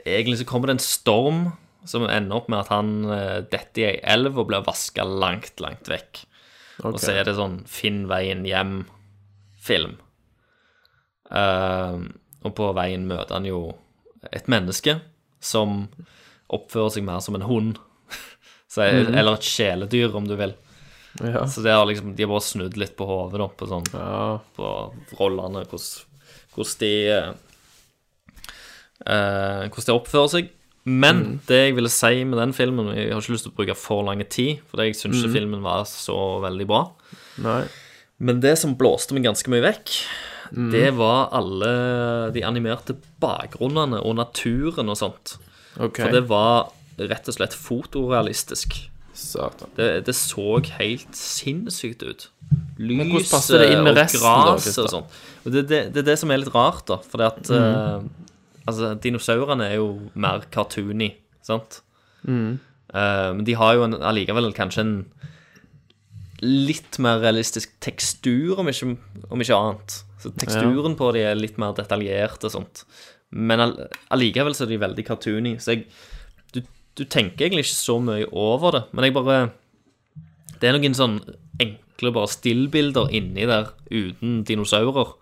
Egentlig så kommer det en storm som ender opp med at han eh, detter i ei elv og blir vaska langt, langt vekk. Ok. Og så er det sånn Finn veien hjem-film. Eh, og på veien møter han jo et menneske som oppfører seg mer som en hund. så, Mhm. Eller et kjæledyr, om du vil. Ja. Så det har liksom, de har bare snudd litt på hodet da, på, sånn, på rollene, hvordan, hvordan de eh, eh, Hvordan de oppfører seg. Men det jeg ville si med den filmen Jeg har ikke lyst til å bruke for lang tid, for jeg syns Mhm. ikke filmen var så veldig bra. Nei. Men det som blåste meg ganske mye vekk, Mhm. det var alle de animerte bakgrunnene og naturen og sånt. Ok. For det var rett og slett fotorealistisk. Satan. Det, det så helt sinnssykt ut. hvordan Lyset passer det inn og med resten da, gras Christer? og sånn. Og det, det, det er det som er litt rart, da. For at Mhm. eh, altså, dinosaurene er jo mer cartoony, sant? Mhm. Eh, men de har jo en, allikevel kanskje en litt mer realistisk tekstur, om ikke, om ikke annet. Så teksturen på de er litt mer detaljert og sånt. Men all- allikevel så er de veldig cartoony. Så jeg, du, du tenker egentlig ikke så mye over det, men jeg bare Det er noen sånn enkle bare stillbilder inni der uten dinosaurer.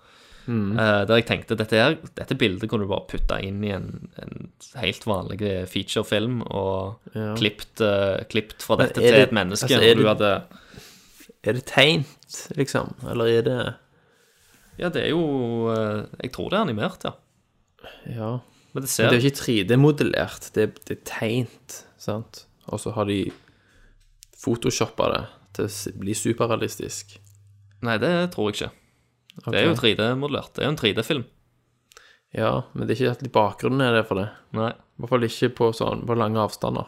Mm. Eh, der jeg tenkte dette, her, dette bildet kunne du bare putte inn i en, en helt vanlig featurefilm og Ja. klippt, eh, klippt fra Men dette er til et det- menneske. altså, er hvor du det- hadde, Er det tegnt, liksom? Eller er det ja, det er jo eh, Jeg tror det er animert, ja. Ja. Men det ser- er jo ikke 3D-modellert. Det, er- det er tegnt, sant? Og så har de photoshoppa det til å s- bli superrealistisk. Nei, det tror jeg ikke. Det er jo Ok. 3D-modellert. Det er jo en 3D-film. Ja, men det er ikke alltid bakgrunnen er det for det. Nei. I hvert fall ikke på, sånn, på lange avstander.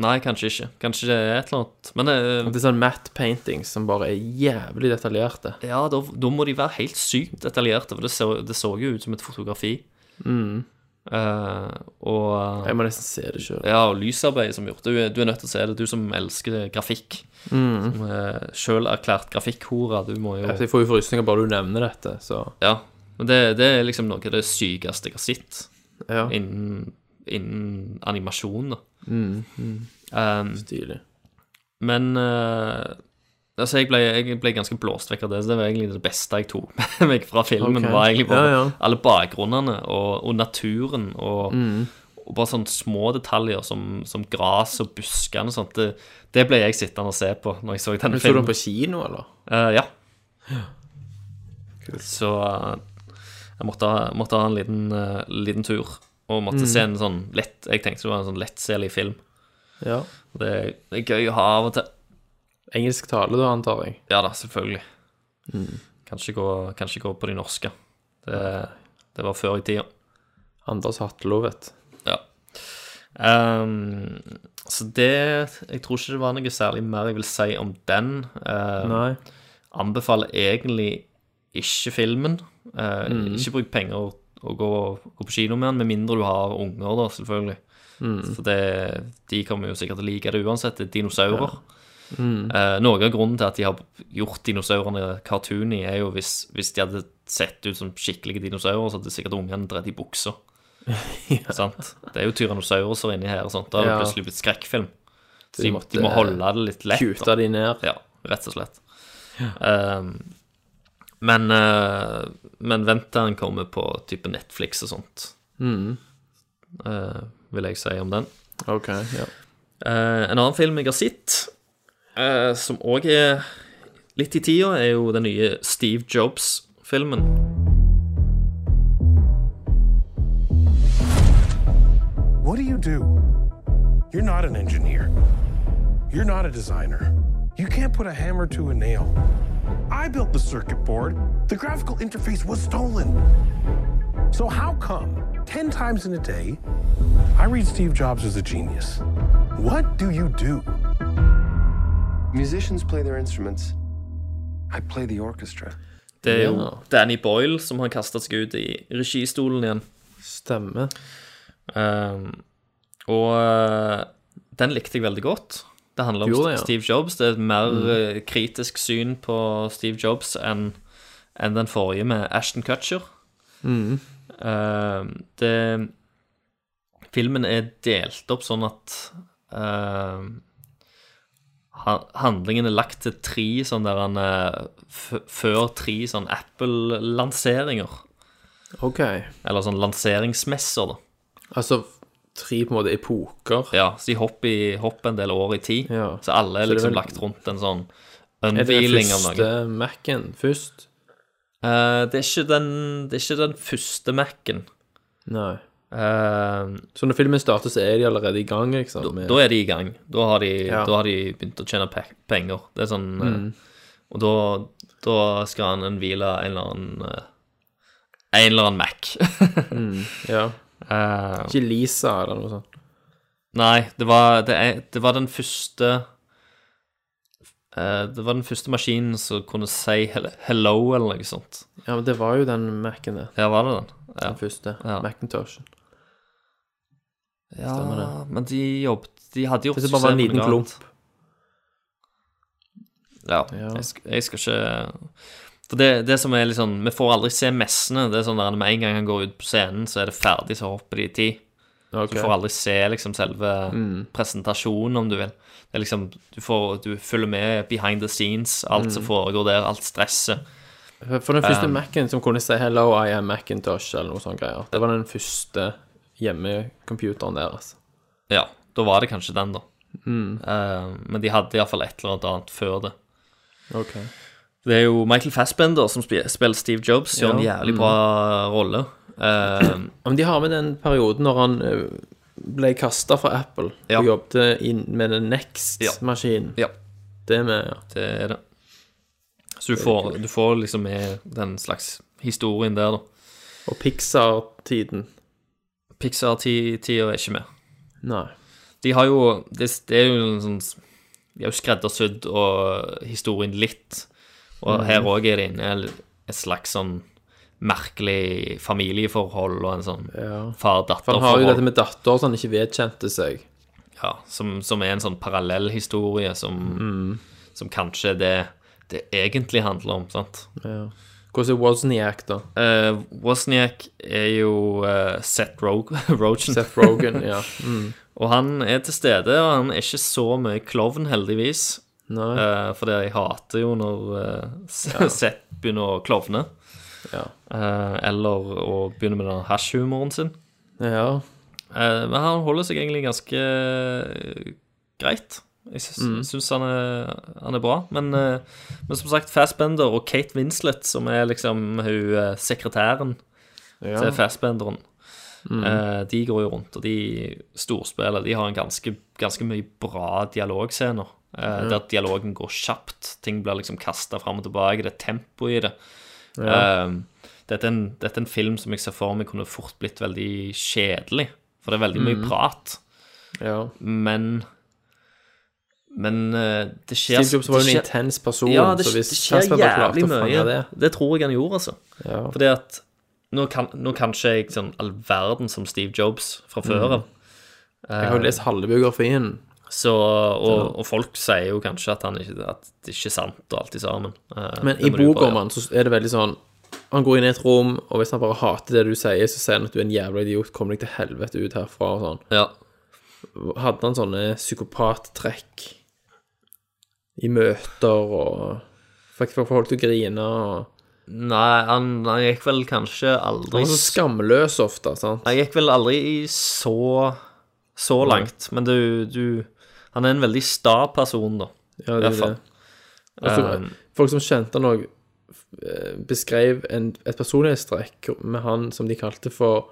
Nei, kanskje ikke. Kanskje det er et eller annet Men eh, At det er sånn matte paintings som bare er jævlig detaljerte. ja, da, da må de være helt sykt detaljerte, for det så, det så jo ut som et fotografi. Mm. Eh, og Jeg må nesten se det sjøl. Ja, og lysarbeid som gjort. Du, er- du er nødt til å se det, du som elsker grafikk. Mm. Som er selv erklært grafikkhore. Du må jo Jeg får jo frysninger bare du nevner dette, så Ja. Men det, det er liksom noe av det sykeste jeg har sett Ja. innen, innen animasjon, da. mm. Mm. Um, Stilig. Men eh, altså jeg, ble, jeg ble ganske blåst vekk av det, så det var egentlig det beste jeg tok med meg fra filmen. Ok. var egentlig bare Ja, ja. Alle bakgrunnene og, og naturen og, Mm. og bare sånne små detaljer som, som gras og buskene og sånt. Det, det ble jeg sittende og se på når jeg så den Men Så du filmen. den på kino, eller? Eh, ja. Så eh, jeg måtte ha, måtte ha en liten, eh, liten tur. Og måtte Mhm. se en sånn lett Jeg tenkte det var en sånn lettselig film. Ja. Og Det, det er gøy å ha av og til. Engelsk tale, da, antar jeg. Ja da, selvfølgelig. Kanskje, gå, kanskje gå på de norske. Det, det var før i tida. Anders Hatlo, vet Ja. Ehm, så det Jeg tror ikke det var noe særlig mer jeg vil si om den. Ehm, Nei. Anbefaler egentlig ikke filmen. Eh, Mm. Ikke bruk penger og, og gå, gå på kino med den, med mindre du har unger, da, selvfølgelig. Mm. For det, de kommer jo sikkert til å like det uansett. Det er dinosaurer. Mm. Eh, noe av grunnen til at de har gjort dinosaurene cartoony, er jo hvis, hvis de hadde sett ut som skikkelige dinosaurer, så hadde sikkert ungene dredd i buksa. Sant? Det er jo tyrannosauruser inni her og sånt. Da har Ja. det plutselig blitt skrekkfilm. Så Så de de, måtte de må holde det litt lett. kute da. de ned. Ja, rett og slett. Ehm, Men, eh, men vent til den kommer på type Netflix og sånt. Mhm. eh, vil jeg si om den. Ok, ja. Eh, en annen film jeg har sett, eh, som òg er litt i tida, er jo den nye Steve Jobs-filmen. What do you do? You're not an engineer. You're not a designer. You can't put a hammer to a nail. I built the circuit board. The graphical interface was stolen. So, how come 10 times in a day, I read Steve Jobs as a genius? What do you do? Musicians play their instruments. I play the orchestra. Det er jo Ja. Danny Boyle som har kasta seg ut i registolen igjen. Stemmer. Ehm, og eh, den likte jeg veldig godt. Det handler om Gjorde det, ja. Steve Jobs. Det er et mer Mm. eh, kritisk syn på Steve Jobs enn enn den forrige med Ashton Cutcher. Mhm. Eh, det Filmen er delt opp sånn at eh, ha- handlingen er lagt til tre sånn der han eh, f Før tre sånn Apple-lanseringer. Ok. Eller sånn lanseringsmesser, da. Altså tre på en måte epoker. Ja, så de hopper, i, hopper en del år i tid. Så alle Så er det er liksom vel- lagt rundt en sånn Er det den unveiling av noe. første Mac-en først? Eh, det, er ikke den, det er ikke den første Mac-en. Nei. så når filmen starter, så er de allerede i gang, liksom? med- Da er de i gang. Da har de, Ja. da har de begynt å tjene pe penger. Det er sånn eh, Mm. Og da, da skal han unnhvile en eller annen eh, En eller annen Mac. ja. Eh, Ikke Lisa eller noe sånt? Nei, det var, det, er- det var den første eh, Det var den første maskinen som kunne si hel- 'hello' eller noe sånt. Ja, men det var jo den Mac-en der. Ja, var det den? Ja. Den første. Macintoshen. Ja, Stemmer det. men de jobbet De hadde gjort Det er bare suksess en med liten noe annet. klump. Ja, Jeg, skal, jeg skal ikke For det, det som er litt sånn Vi får aldri se messene. Det er sånn der Med en gang han går ut på scenen, så er det ferdig, så hopper de i tid. Ok. Så du får aldri se liksom selve Mm. presentasjonen, om du vil. Det er liksom, du, får, du følger med behind the scenes, alt som Mm. foregår der, alt stresset. For- For den første Um, Mac-en som kunne si 'Hello, I am Macintosh' eller noe sånt greier. Det var den første hjemmecomputeren deres. Ja, da var det kanskje den, da. Mm. Eh, men de hadde iallfall et eller annet annet før det. Ok. Det er jo Michael Fassbender som spi- spiller Steve Jobs, gjør en Ja, jævlig mm. bra rolle. Eh, Ja, Men de har med den perioden når han eh, ble kasta fra Apple Ja. og jobbet inn med den Next-maskinen. Ja. Det med, ja. det er det. Så du Det er får, kult. du får liksom med den slags historien der, da. Og Pixar-tiden. Pixar-tida er ikke med. Nei. De har jo Det, det er jo en sånn De har jo skreddersydd og historien litt. Og Mhm. her òg er det inne et slags sånn merkelig familieforhold og en sånn For han har jo dette far-datter-forhold. med datter som han ikke vedkjente seg. Ja, som, som er en sånn parallellhistorie som, som kanskje er det det egentlig handler om, sant? Ja. Hvordan er Wozniak, da? Eh, Wozniak er jo eh, Seth Rog Rogen. Seth Rogen, ja. Mm. og han er til stede, og han er ikke så mye klovn, heldigvis. Eh, for det jeg hater jo når eh, S- Ja. Seth begynner å klovne. Eh, eller å begynne med den hasjhumoren sin. Ja. Eh, men han holder seg egentlig ganske eh, greit. Jeg syns, Mm. syns han, er, han er bra. Men, eh, men som sagt, Fassbender og Kate Winslet, som er liksom hun eh, sekretæren Ja. til Fassbenderen, Mm. eh, de går jo rundt, og de storspiller. De har en ganske, ganske mye bra dialogscener. eh, Ja. Der dialogen går kjapt. Ting blir liksom kasta fram og tilbake. Det er tempo i det. Ja. Eh, dette, er en, dette er en film som jeg ser for meg kunne fort blitt veldig kjedelig. For det er veldig mye Mhm. prat. Ja. Men Men eh, det skjer Steve Jobs var jo det en skjer- intens person, Ja, det, så hvis det skjer Casper hadde klart jævlig å fange mye. Det. det tror jeg han gjorde, altså. Ja. Fordi at nå kan, nå kan ikke jeg sånn all verden som Steve Jobs fra Mm. før av. Jeg har jo Eh, lest halve biografien. så, og, og folk sier jo kanskje at, han ikke, at det ikke er sant, og alt i sammen. Eh, Men det i må du jo boka bare- om han så er det veldig sånn Han går inn i et rom, og hvis han bare hater det du sier, så sier han at du er en jævla idiot, kom deg til helvete ut herfra og sånn. Hadde han sånne psykopattrekk i møter og Fikk folk folk til å grine og Nei, han, han gikk vel kanskje aldri Han var så skamløs ofte, sant? Han gikk vel aldri i så så Nei. langt, men du, du Han er en veldig sta person, da. Ja, det er Hvertfall. det. Og så, Um, folk som kjente han òg, beskrev en, et personlighetstrekk med han som de kalte for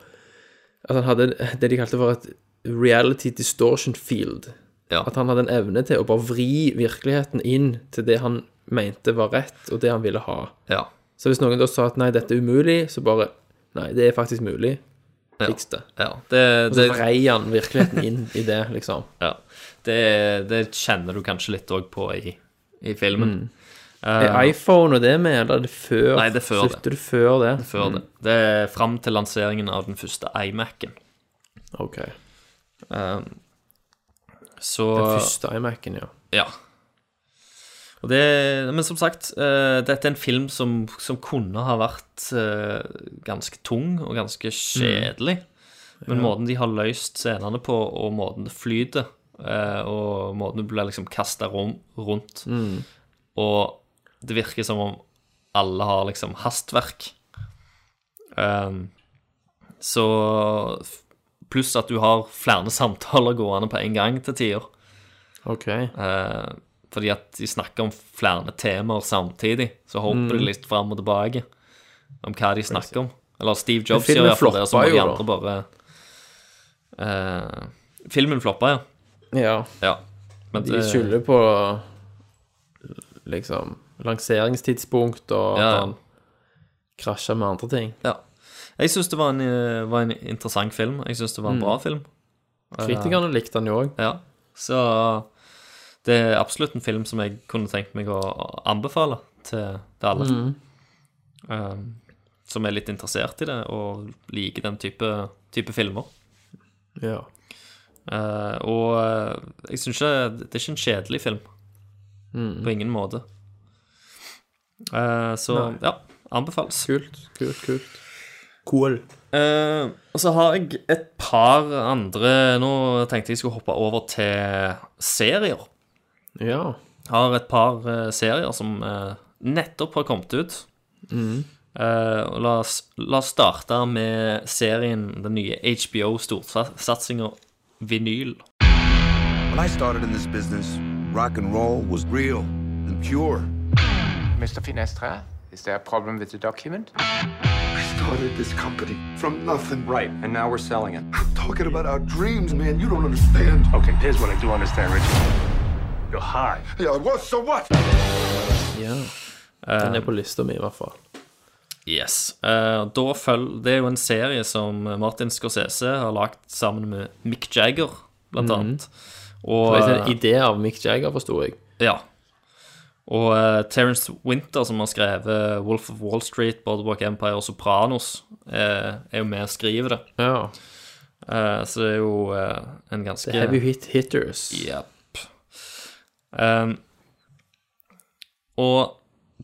At han hadde det de kalte for et reality distortion field. At han hadde en evne til å bare vri virkeligheten inn til det han mente var rett, og det han ville ha. Ja. Så hvis noen da sa at nei, dette er umulig, så bare Nei, det er faktisk mulig. Fiks det. Ja, det- og så det- vrei han virkeligheten inn i det, liksom. Ja. Det, det kjenner du kanskje litt òg på i, i filmen. Mm. Eh, er iPhone og det med, eller er det før? Nei, det er før Slutter du før det? det. Før Mm. det. Det er fram til lanseringen av den første iMac-en. Ok. så Den første iMac-en, ja. Ja. Og det, men som sagt, eh, dette er en film som, som kunne ha vært eh, ganske tung og ganske kjedelig. Men Mm. Ja. måten de har løst scenene på, og måten det flyter, eh, og måten du blir liksom kasta rundt Mm. Og det virker som om alle har liksom hastverk. Ehm, så f- Pluss at du har flere samtaler gående på en gang til tider. Ok. Eh, fordi at de snakker om flere temaer samtidig. Så hopper de Mm. litt fram og tilbake om hva de snakker om. Eller Steve Jobs filmen gjør iallfall det, og så må floppa de jo andre bare eh, Filmen floppa, ja. Ja. Ja. Men eh, de det- skylder på liksom lanseringstidspunkt og Ja, at ja. han krasja med andre ting. ja. Jeg syns det var en, eh, var en interessant film. Jeg syns det var en Mm. bra film. Kritikerne likte han jo òg. Ja. Så det er absolutt en film som jeg kunne tenkt meg å anbefale til, til alle. Mm. Um, som er litt interessert i det og liker den type, type filmer. Ja. Eh, og eh, jeg syns ikke Det er ikke en kjedelig film. Mm. På ingen måte. Eh, så Nei. ja, anbefales. Kult, kult, kult. Cool. Eh, og så har jeg et par andre Nå tenkte jeg skulle hoppe over til serier. Ja. Har et par eh, serier som eh, nettopp har kommet ut. Mm. Eh, og la oss, la oss starte med serien, den nye HBO-storsatsinga Vinyl. When I started in this business, rock and roll was real and pure. Mr. Finestra, is there a problem with the document? Started this company from nothing. Right, and now we're selling it. I'm talking about our dreams, man. You don't understand. Okay, here's what I do understand, Richard. You're high. Yeah, what? So what? Ja. Den er på lista mi, i hvert fall. Yes. Eh, og da følger, det er jo en serie som Martin Scorsese har lagd sammen med Mick Jagger, blant Mhm. annet. Det var en idé av Mick Jagger, forsto jeg. Ja. Og eh, Terence Winter, som har skrevet Wolf of Wall Street, Boardwalk Empire og Sopranos, eh, er jo med og skriver det. Ja. Eh, så det er jo eh, en ganske The heavy hit hitters. Jepp. Ehm, og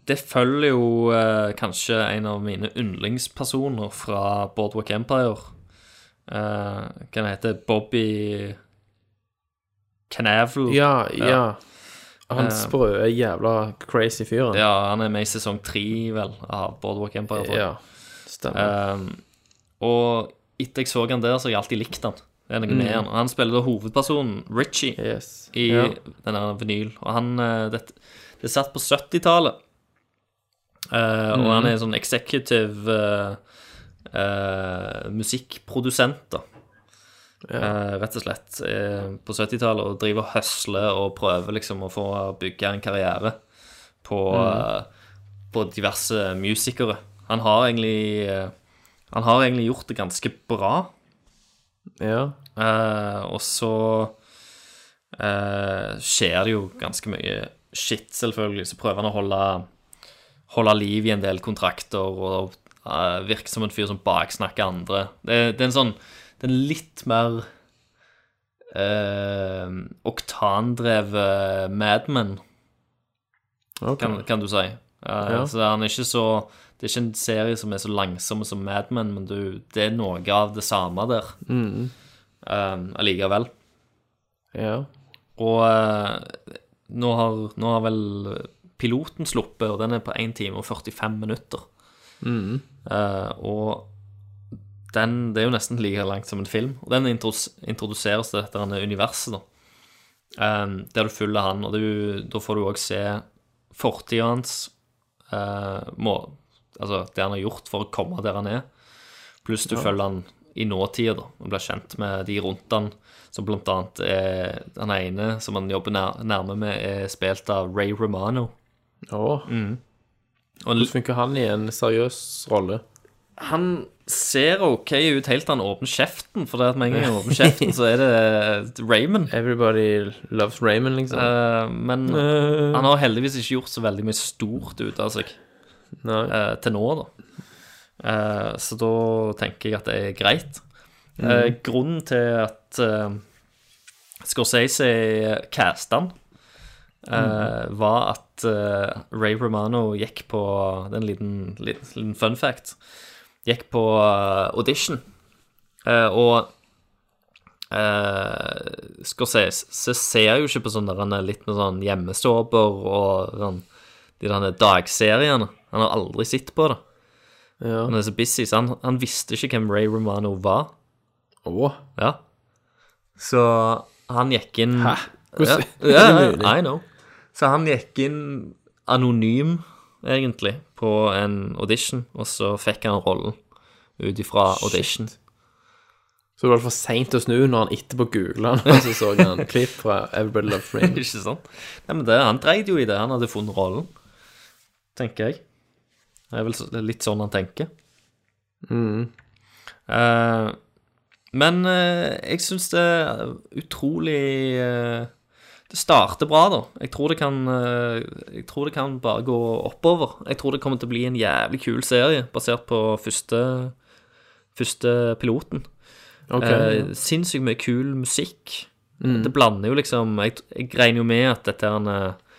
det følger jo eh, kanskje en av mine yndlingspersoner fra Boardwalk Empire. Uh, kan hete Bobby Knavel. Ja, ja. Han Eh, sprø, jævla crazy fyren. Ja, han er med i sesong tre, vel, av Boardwalk Empire. tror jeg. Ja, stemmer. Ehm, og etter jeg så han der, så har jeg alltid likt han. Det er noe Mm. med han. Og han spiller da hovedpersonen, Richie, Eh. i ja. denne vinyl. Og han eh, Det, det er satt på 70-tallet. Eh, Og Mm. han er en sånn executive eh, eh, musikkprodusent, da. Eh, rett og slett. eh, på 70-tallet og driver og høsler og prøver liksom å få bygge en karriere på, Mm. eh, på diverse musikere. Han har egentlig eh, Han har egentlig gjort det ganske bra. Ja. Eh, og så eh, skjer det jo ganske mye shit, selvfølgelig. Så prøver han å holde, holde liv i en del kontrakter og eh, virke som en fyr som baksnakker andre. Det, det er en sånn Det er en litt mer eh, oktandrevet Mad Men, Ok. kan, kan du si. Eh, Ja. Så han er ikke så Det er ikke en serie som er så langsom som Mad Men, men du, det er noe av det samme der Mm. um, allikevel. Ja. Og eh, nå, har, nå har vel piloten sluppet, og den er på 1 time og 45 minutter. Eh, og den, det er jo nesten like langt som en film. Og den introdus introduseres til dette her universet, da. Eh, der du følger han, og du, da får du òg se fortida hans. eh, må, altså det han har gjort for å komme der han er. Pluss du Ja. følger han i nåtida, da. Og blir kjent med de rundt han, som blant annet er Han ene som han jobber nær, nærme med, er spilt av Ray Romano. Åh. Mm. Hvordan funker han i en seriøs rolle? Han ser OK ut helt til han åpner kjeften, for det at med en gang han åpner kjeften, så er det eh, Raymond. Eh, Everybody loves Raymond, liksom. men Eh. han har heldigvis ikke gjort så veldig mye stort ut av seg eh, til nå, da. Eh, så da tenker jeg at det er greit. Mhm. Eh, grunnen til at eh, Scorsese casta han, eh, Mhm. var at eh, Ray Romano gikk på Det er en liten, liten, liten fun fact. Gikk på eh, audition, Eh, og eh, Scorsese se- ser jo ikke på sånn der han er litt med sånn hjemmesåper og sånn de der dagseriene. Han har aldri sett på det. Han er så busy, så han, han visste ikke hvem Ray Romano var. Åh. Ja. Så han gikk inn Hæ? Hvordan- Ja, ja, Er det mulig? I know. Så han gikk inn anonym, egentlig, på en audition, og så fikk han rollen ut ifra Shit. audition. Så det var for seint å snu når han etterpå googla han, og så så han klipp fra Everybody Loves Raymond. ikke sant? Nei, men det, han dreit jo i det. Han hadde funnet rollen, tenker jeg. Det er vel så- det er litt sånn han tenker. Eh, men eh, jeg syns det er utrolig eh, Det starter bra, da. Jeg tror det kan eh, Jeg tror det kan bare gå oppover. Jeg tror det kommer til å bli en jævlig kul serie basert på første, første piloten. Ok, Eh, ja. sinnssykt mye kul musikk. Mm. Det blander jo liksom Jeg, jeg regner jo med at dette her eh,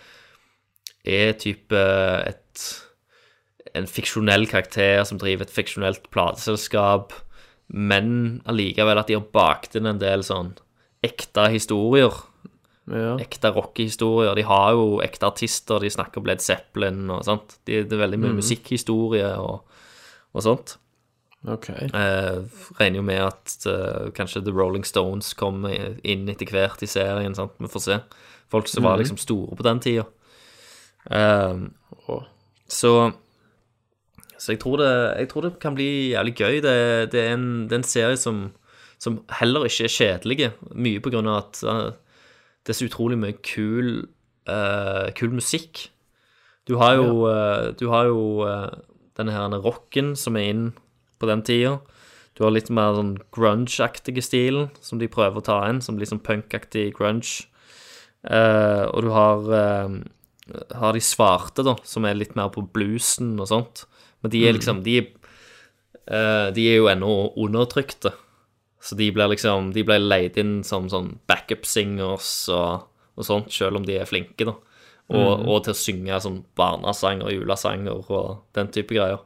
er type eh, et en fiksjonell karakter som driver et fiksjonelt plateselskap, men allikevel at de har bakt inn en del sånn ekte historier. Eh, Ekte rockehistorier. De har jo ekte artister, de snakker om Led Zeppelin og sånt. De, det er veldig mye Mm. musikkhistorie og, og sånt. Ok. Eh, regner jo med at eh, kanskje The Rolling Stones kommer inn etter hvert i serien. Sant? Vi får se. Folk som var Mhm. liksom store på den tida. Eh, så Så jeg tror, det, jeg tror det kan bli jævlig gøy. Det, det, er, en, det er en serie som, som heller ikke er kjedelig, mye på grunn av at eh, det er så utrolig mye kul, eh, kul musikk. Du har jo, eh, du har jo eh, denne her rocken som er inn på den tida. Du har litt mer sånn grunge-aktige stilen som de prøver å ta inn, som litt sånn punk-aktig grunge. Eh, og du har, eh, har de svarte, da, som er litt mer på bluesen og sånt. Men de er Mm. liksom De, eh, de er jo ennå undertrykte. Så de blir liksom De blir leid inn som sånn backup-singers og, og sånt, selv om de er flinke, da. Og, Mm. og til å synge sånn barnesanger, julesanger og den type greier.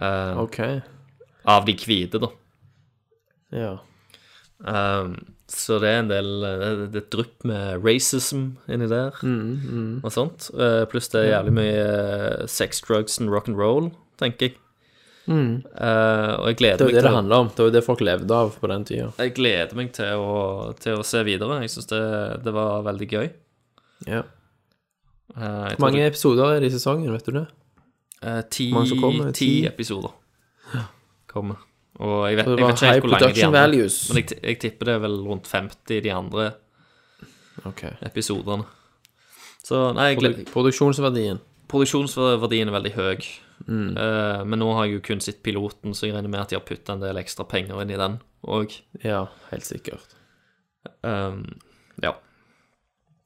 Eh, Ok. Av de hvite, da. Ja. Um, så det er en del eh, Det det er et drypp med racism inni der Mm, mm. og sånt. Eh, pluss det er jævlig mye eh, sex, drugs and rock and roll, tenker jeg. Mm. Eh, og jeg gleder Det er meg jo det det til å- handler om. Det var jo det folk levde av på den tida. Jeg gleder meg til å, til å se videre. Jeg syns det, det var veldig gøy. Ja. Eh, jeg Hvor tror mange det- episoder er det i sesongen, vet du det? eh, ti, hvor mange som kommer? ti Ti? episoder kommer. Og jeg vet, Så jeg vet det var ikke helt high hvor lange de production andre values. Men jeg, t- jeg tipper det er vel rundt 50 de andre Ok. episodene. Så nei, jeg gleder Produ produksjonsverdien. Produksjonsverdien er veldig høy. Mm. Eh, men nå har jeg jo kun sett piloten, så jeg regner med at de har putta en del ekstra penger inn i den òg. Ja, helt sikkert. ja.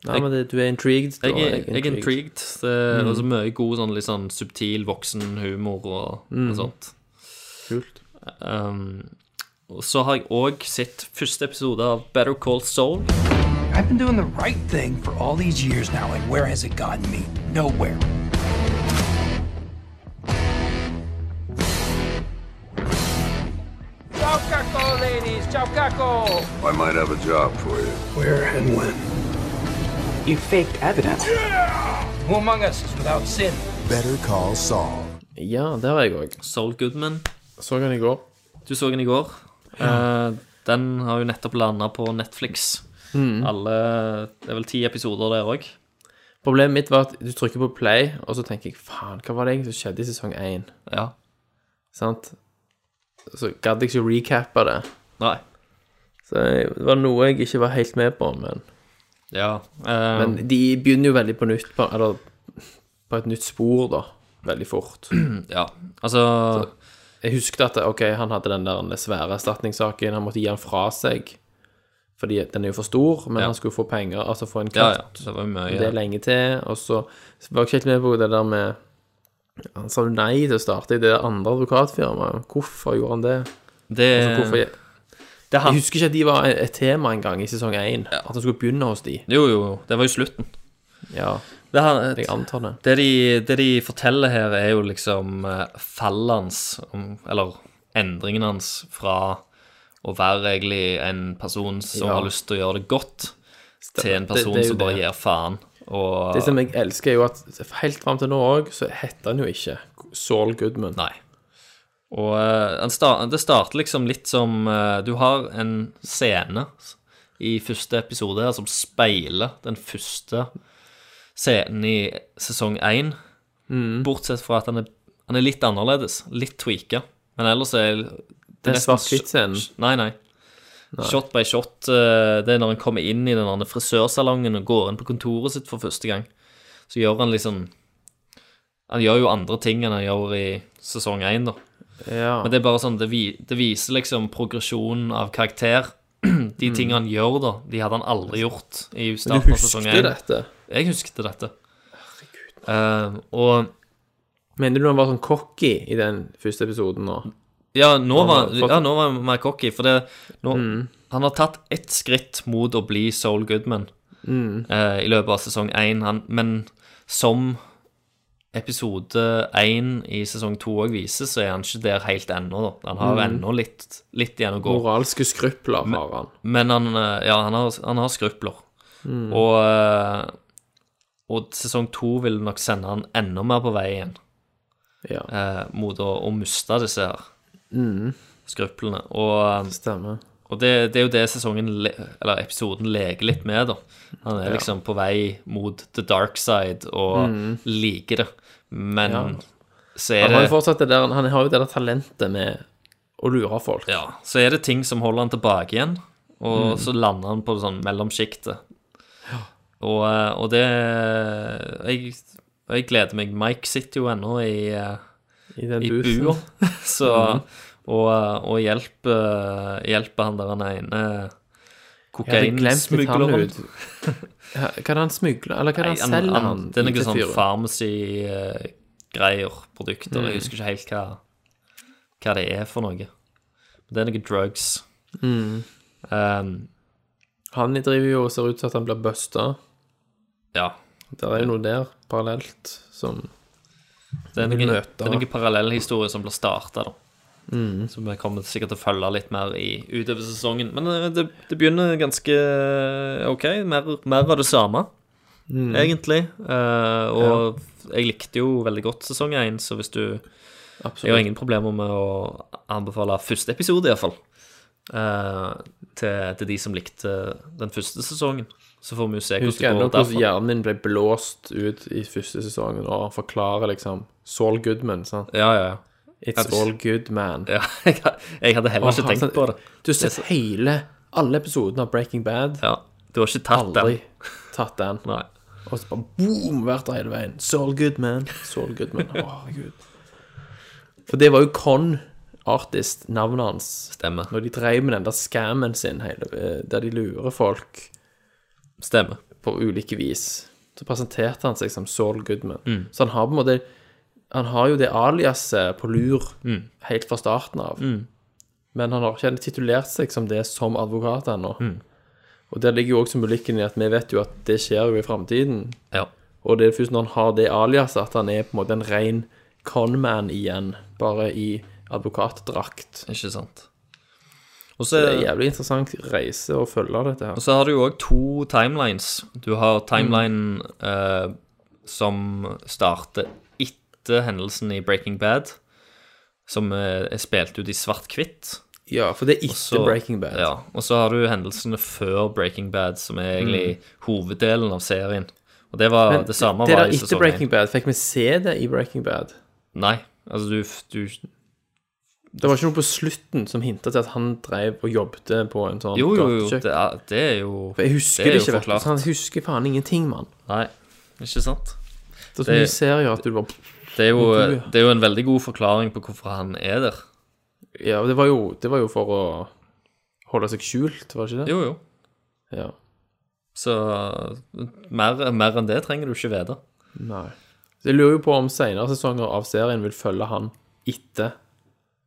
Nei, men det, du er intrigued. da. Jeg, er- jeg er intrigued. Det er Mm. også mye god sånn litt sånn subtil voksenhumor og, Mm. og sånt. Kult. Um, og så har jeg òg sett første episode av Better Call Soul. I've been doing the right thing for all these years now, and where has it gotten me? Nowhere. Chowcaco, ladies, chowcaco. I might have a job for you. Where and when? You faked evidence. Who among us is without sin? Better call Saul. Ja, der er jeg òg. Soul Goodman. Så den i går. Du så den i går. Eh, den har jo nettopp landa på Netflix. Mhm. Alle Det er vel ti episoder der òg. Problemet mitt var at du trykker på play, og så tenker jeg faen, hva var det egentlig som skjedde i sesong én? Ja. Sant? Så gadd jeg ikke å recappe det. Nei. Så jeg- det var noe jeg ikke var helt med på, men Ja. eh, Men de begynner jo veldig på nytt, på, eller på et nytt spor, da. Veldig fort. ja, altså Jeg husket at ok, han hadde den der den svære erstatningssaken, han måtte gi den fra seg. Fordi den er jo for stor, men Ja. han skulle få penger, altså få en Ja, ja, katt. så det var mye, og det er ja. lenge til. Og så så var jeg ikke helt med på det der med Han sa jo nei til å starte i det andre advokatfirmaet. Hvorfor gjorde han det? Det- altså, hvorfor, Eh. Det er han- Jeg husker ikke at de var et tema en gang i sesong én, at han skulle begynne hos de. Jo, jo, jo. Det var jo slutten. Ja. Det, han- Jeg antar det. Det de, det de forteller her, er jo liksom eh, fallet hans, om- eller endringen hans fra å være egentlig en person som Ja. har lyst til å gjøre det godt, til en Det- det person er jo som bare det. gir faen. Og Det som jeg elsker, er jo at helt fram til nå òg, så heter han jo ikke Saul Goodman. Nei. Og eh, han sta- det starter liksom litt som eh, Du har en scene i første episode her som speiler den første scenen i sesong én. Mm. Bortsett fra at han er, han er litt annerledes. Litt tweaka. Men ellers er Den nesten svart-hvitt-scenen? sh- Nei, nei. Nei. Shot by shot. eh, Det er når han kommer inn i den andre frisørsalongen og går inn på kontoret sitt for første gang. Så gjør han liksom han gjør jo andre ting enn han gjør i sesong 1, da. Ja. Men det er bare sånn, det, vi, det viser liksom progresjonen av karakter. De Mm. tingene han gjør, da, de hadde han aldri gjort i Men starten du av sesong 1. husket dette? Jeg husket dette. Herregud. og Mener du han var sånn cocky i den første episoden nå? Mm. Ja, nå Han var, har fått- ja, nå var han mer cocky, for det nå, Han har tatt ett skritt mot å bli Soul Goodman Mm. eh, i løpet av sesong én, han- men som episode én i sesong to òg viser, så er han ikke der helt ennå, da. Han har Mm. ennå litt, litt igjen å gå. Moralske skrupler har han. Men han, eh, ja, han, har, han har skrupler. Mm. Og, eh, og sesong to vil nok sende han enda mer på vei igjen eh, mot å, å miste disse her Mm. skruplene. Og, eh, Stemmer. Og det, det er jo det sesongen, le, eller episoden leker litt med, da. Han er Ja. liksom på vei mot the dark side og Mm. liker det. Men Ja. så er Han har det jo fortsatt det der, han har jo det der talentet med å lure folk. Ja, så er det ting som holder han tilbake igjen, og Mm. så lander han på det sånn mellomsjiktet. Og, eh, og det jeg, jeg gleder meg. Mike sitter jo ennå i, eh, I den busen. bua, så, Mhm. og, eh, og hjelper, eh, hjelper han der den ene Jeg hadde glemt litt han kokainsmugleren. ut. Ja, Hva er det han smugler, eller hva er det han Nei, selger? han Det er til noe sånn fyren? pharmacy-greier, produkter. Mm. Jeg husker ikke helt hva, hva det er for noe. Men det er noe drugs. Um, Mm. han driver jo og ser ut som at han blir busta. Ja. Det er jo noe der parallelt som Det er vi noen, møter. det er noen parallellhistorier som blir starta, da. Mm. Som vi kommer sikkert til å følge litt mer i utover sesongen. Men eh, det, det begynner ganske eh, OK. Mer, mer av det samme, Mm. egentlig. Eh, og jeg likte jo veldig godt sesong én, så hvis du Jeg har ingen problemer med å anbefale første episode, iallfall. Uh, til, til de som likte den første sesongen. Så får vi jo se Jeg hvordan husker det ennå går hvordan derfra. hjernen min ble blåst ut i første sesongen, og han forklarer liksom Saul Goodman, sant? Ja, ja, ja. It's Ja, all good, man. Ja, jeg, jeg hadde heller ikke Åh, tenkt altså, på det. Du har sett hele, alle episodene av Breaking Bad. Ja, du har ikke tatt den. Aldri tatt den. Nei. Og så bare boom, vært der hele veien. Saul Goodman, Saul Goodman. Å, herregud. For det var jo Con Artist, navnet hans. Stemmer. Når de drev med den der scammen sin, hele, eh, der de lurer folk Stemmer. På ulike vis. Så presenterte han seg som Saul Goodman. Mm. Så han har på en måte Han har jo det aliaset på lur Mm. helt fra starten av. Mm. Men han har ikke titulert seg som det som advokat ennå. Mm. Og der ligger jo også symbolikken i at vi vet jo at det skjer jo i framtiden. Ja. Og det er først når han har det aliaset at han er på en måte en ren conman igjen, bare i advokatdrakt. Ikke sant. Og så så- det er en jævlig interessant reise å følge dette her. Og så har du jo òg to Mm. timelines. Du har timelinen eh, som starter etter etter hendelsen i Breaking Bad, som eh, er spilt ut i svart-hvitt. Ja, for det er etter Og så- Breaking Bad. Ja, og så har du hendelsene før Breaking Bad, som er egentlig hoveddelen av serien. Og det var Mm. Men det samme det var der i etter sesong Breaking én. Bad, fikk vi se det i Breaking Bad? Nei, altså du, du Det var ikke noe på slutten som hintet til at han drev og jobbet på en sånn Jo, jo, jo, gatekjøkken? det er, det er jo For jeg husker er det, jo ikke, vet du. forklart. så Han husker faen ingenting, mann. Nei, ikke sant? Det er så mye serier at du bare Det er, jo, Du- det er jo en veldig god forklaring på hvorfor han er der. Ja, det var jo, det var jo for å holde seg skjult, var det ikke det? Jo, jo. Ja. Så mer, mer enn det trenger du ikke vite. Nei. Så jeg lurer jo på om senere sesonger av serien vil følge han etter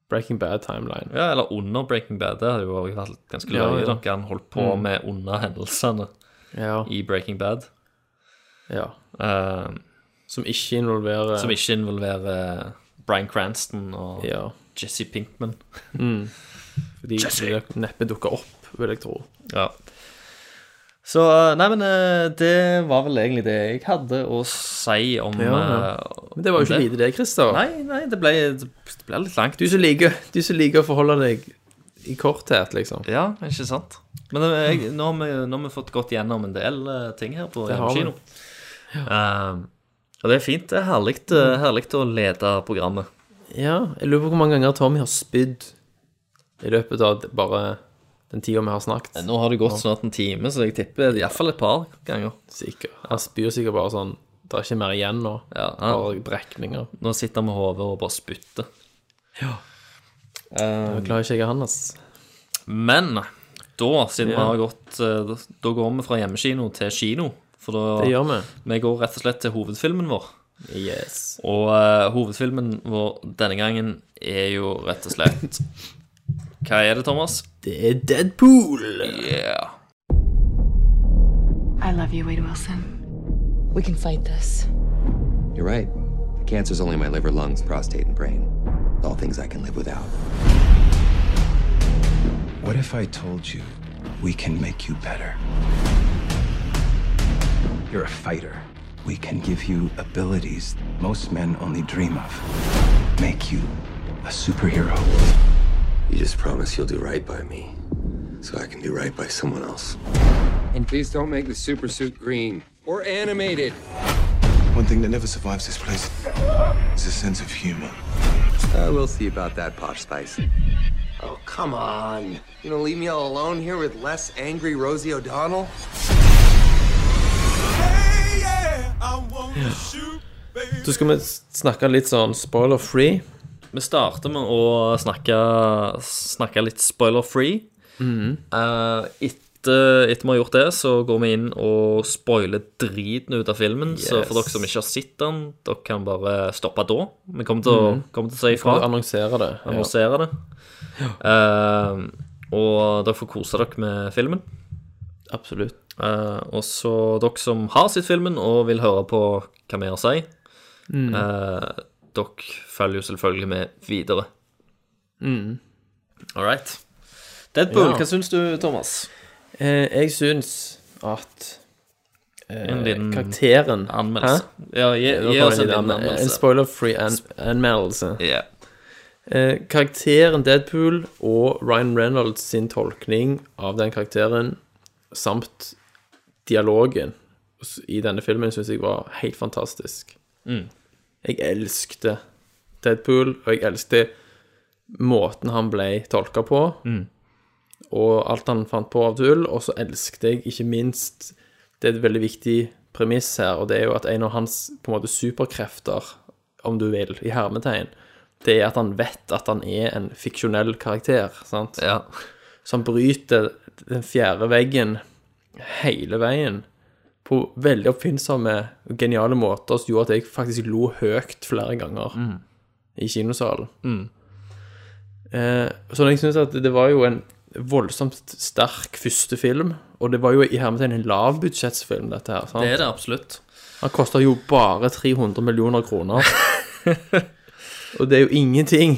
Breaking Bad-timeline. Ja, eller under Breaking Bad. Det hadde jo også vært ganske løye, Ja, ja. da, hva han holdt på Mm. med under hendelsene Ja. i Breaking Bad. Eh, Ja. som ikke involverer Som ikke involverer eh, Bryan Cranston og Ja. Jesse Pinkman. Mm. Fordi Jesse! det neppe dukker opp, vil jeg tro. Ja. Så eh, Nei, men eh, det var vel egentlig det jeg hadde å si om Ja, ja. eh, Men det var jo om ikke lite det, Christer. Nei, nei, det ble, det ble litt langt. Du som liker, du som liker å forholde deg i korthet, liksom. Ja, ikke sant? Men eh, jeg, nå, har vi, nå har vi fått gått gjennom en del eh, ting her på Det har vi. kino. og det er fint. Det er herlig, eh, herlig å lede programmet. Ja, jeg lurer på hvor mange ganger Tommy har spydd i løpet av d- bare den tida vi har snakket. Nå har det gått snart en time, så jeg tipper iallfall et par ganger. Sikkert. Han spyr sikkert bare sånn Det er ikke mer igjen nå. Ja, ja. Bare brekninger. Nå sitter han med hodet og bare spytter. Ja. Um, Nå klarer ikke jeg han, ass. Men da, siden Ja. vi har gått eh, Da går vi fra hjemmekino til kino. For da Det gjør vi. går rett og slett til hovedfilmen vår. Yes. Og eh, hovedfilmen vår denne gangen er jo rett og slett Hva er det, Thomas? Det er Deadpool. Yeah. I love you, Wade Wilson. We can fight this. You're right. The cancer's only my liver, lungs, prostate, and brain. All things I can live without. What if I told you we can make you better? You're a fighter. We can give you abilities most men only dream of. Make you a superhero. You just promise you'll do right by me, so I can do right by someone else. And please don't make the super suit green or animated. One thing that never survives this place is a sense of humor. Uh, we'll see about that, Posh Spice. Oh, come on. You gonna leave me all alone here with less angry Rosie O'Donnell? Så skal vi s- snakke litt sånn spoiler-free. Vi starter med å snakke, snakke litt spoiler-free. Mhm. Eh, etter, etter vi har gjort det, så går vi inn og spoiler driten ut av filmen. Så Yes. for dere som ikke har sett den, dere kan bare stoppe da. Vi kommer til, å- Mhm. kommer til å si Vi kommer ifra. til å annonsere det, ja. Annonsere det. Eh, og dere får kose dere med filmen. Absolutt. Eh, og så dere som har sett filmen og vil høre på hva vi har å si, Mhm. eh, dere følger jo selvfølgelig med videre. Mm. All right. Deadpool, Ja. hva syns du, Thomas? Eh, jeg syns at eh, En liten karakteren anmeldelse. Hæ? Ja, gi- Det var gi bare oss en liten anme- anmeldelse. En spoiler-free an anmeldelse. Ja. Eh, karakteren Deadpool og Ryan Reynolds sin tolkning av den karakteren samt dialogen s- i denne filmen syns jeg var helt fantastisk. Mm. Jeg elskte Deadpool, og jeg elsket måten han ble tolka på, Mm. og alt han fant på av tull. Og så elsket jeg ikke minst Det er et veldig viktig premiss her, og det er jo at en av hans på en måte superkrefter, om du vil, i hermetegn, det er at han vet at han er en fiksjonell karakter, sant? Så han bryter den fjerde veggen hele veien på veldig oppfinnsomme og geniale måter som gjorde at jeg faktisk lo høyt flere ganger Mm. i kinosalen. Mm. Eh, så jeg synes at det var jo en voldsomt sterk første film, og det var jo i hermetegn en lavbudsjettsfilm, dette her. Sant? Det er det absolutt. Han koster jo bare 300 millioner kroner. og det er jo ingenting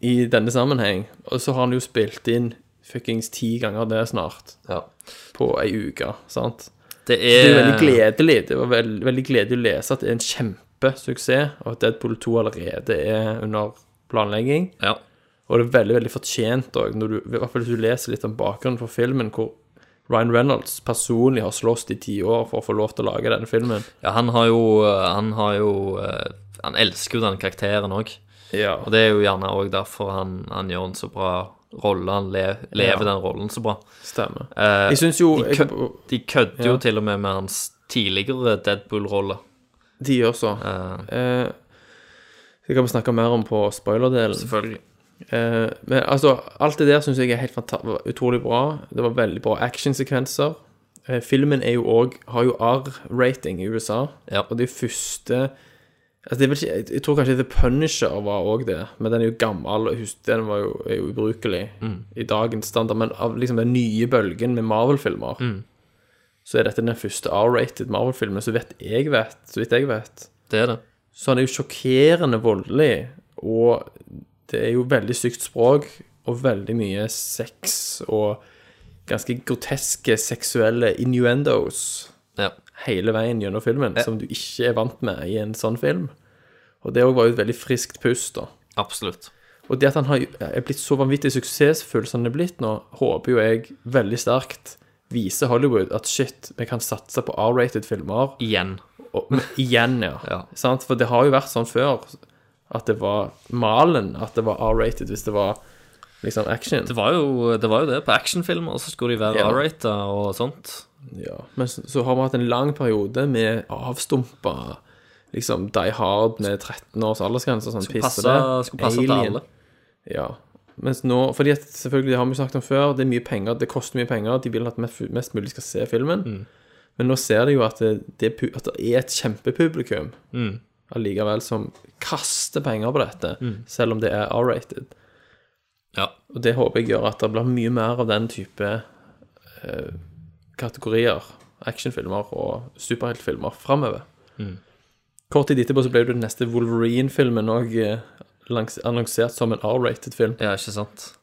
i denne sammenheng. Og så har han jo spilt inn fuckings ti ganger det snart. På ei uke, sant? Det Så det er jo er- veldig gledelig. Det var veld, veldig gledelig å lese at det er en kjempesuksess, og at Deadpool 2 allerede er under planlegging. Ja. Og det er veldig veldig fortjent òg, i hvert fall hvis du leser litt om bakgrunnen for filmen, hvor Ryan Reynolds personlig har slåss i ti år for å få lov til å lage denne filmen. Ja, han har jo Han har jo eh, Han elsker jo den karakteren òg. Og det er jo gjerne òg derfor han, han gjør en så bra rolle. Han le, lever Ja. den rollen så bra. Stemmer. Eh, Jeg synes jo- De, kø, de kødder Ja. jo til og med med hans tidligere Deadpool-rolle. De også. Eh, det kan vi snakke mer om på spoilerdelen. Selvfølgelig. Eh, men altså, alt det der syns jeg er helt fanta var utrolig bra. Det var veldig bra actionsekvenser. Eh, filmen er jo også, har jo R-rating i USA, og det er første Altså, det er vel ikke, jeg, jeg tror kanskje The Punisher var òg det, men den er jo gammel, og husk, den var jo, er jo ubrukelig Mm. i dagens standard. Men av liksom den nye bølgen med Marvel-filmer, Mm. så er dette den første R-rated Marvel-filmen, så vidt jeg vet. Så vidt jeg vet. Det er det. Så han er jo sjokkerende voldelig, og det er jo veldig sykt språk, og veldig mye sex, og ganske groteske seksuelle innuendos hele veien gjennom filmen, som du ikke er vant med i en sånn film. Og det òg var jo et veldig friskt pust, da. Absolutt. Og det at han har, er blitt så vanvittig suksessfull som han er blitt nå, håper jo jeg veldig sterkt viser Hollywood at shit, vi kan satse på R-rated filmer. Igjen. Og, men, igjen, ja. Sant? For det har jo vært sånn før at det var malen at det var R-rated hvis det var liksom action. Det var jo det, var jo det. på actionfilmer så skulle de være Ja. R-rated og sånt. Ja. Men så, så har vi hatt en lang periode med avstumpa liksom Die Hard med 13 års aldersgrense og sånn Skulle piss og passe- det. skulle passe til Alien. alle. Ja. Mens nå, fordi at selvfølgelig, det har vi jo snakket om før, det er mye penger, det koster mye penger, de vil at mest, mest mulig skal se filmen. Mm. Men nå ser de jo at det, det, er pu- at det er et kjempepublikum Mm. allikevel som kaster penger på dette, selv om det er R-rated. Ja. Og det håper jeg gjør at det blir mye mer av den type eh, kategorier, actionfilmer og superheltfilmer, framover. Mm. Kort tid etterpå så ble jo den neste Wolverine-filmen òg annonsert som en R-rated film. Ja, ikke sant.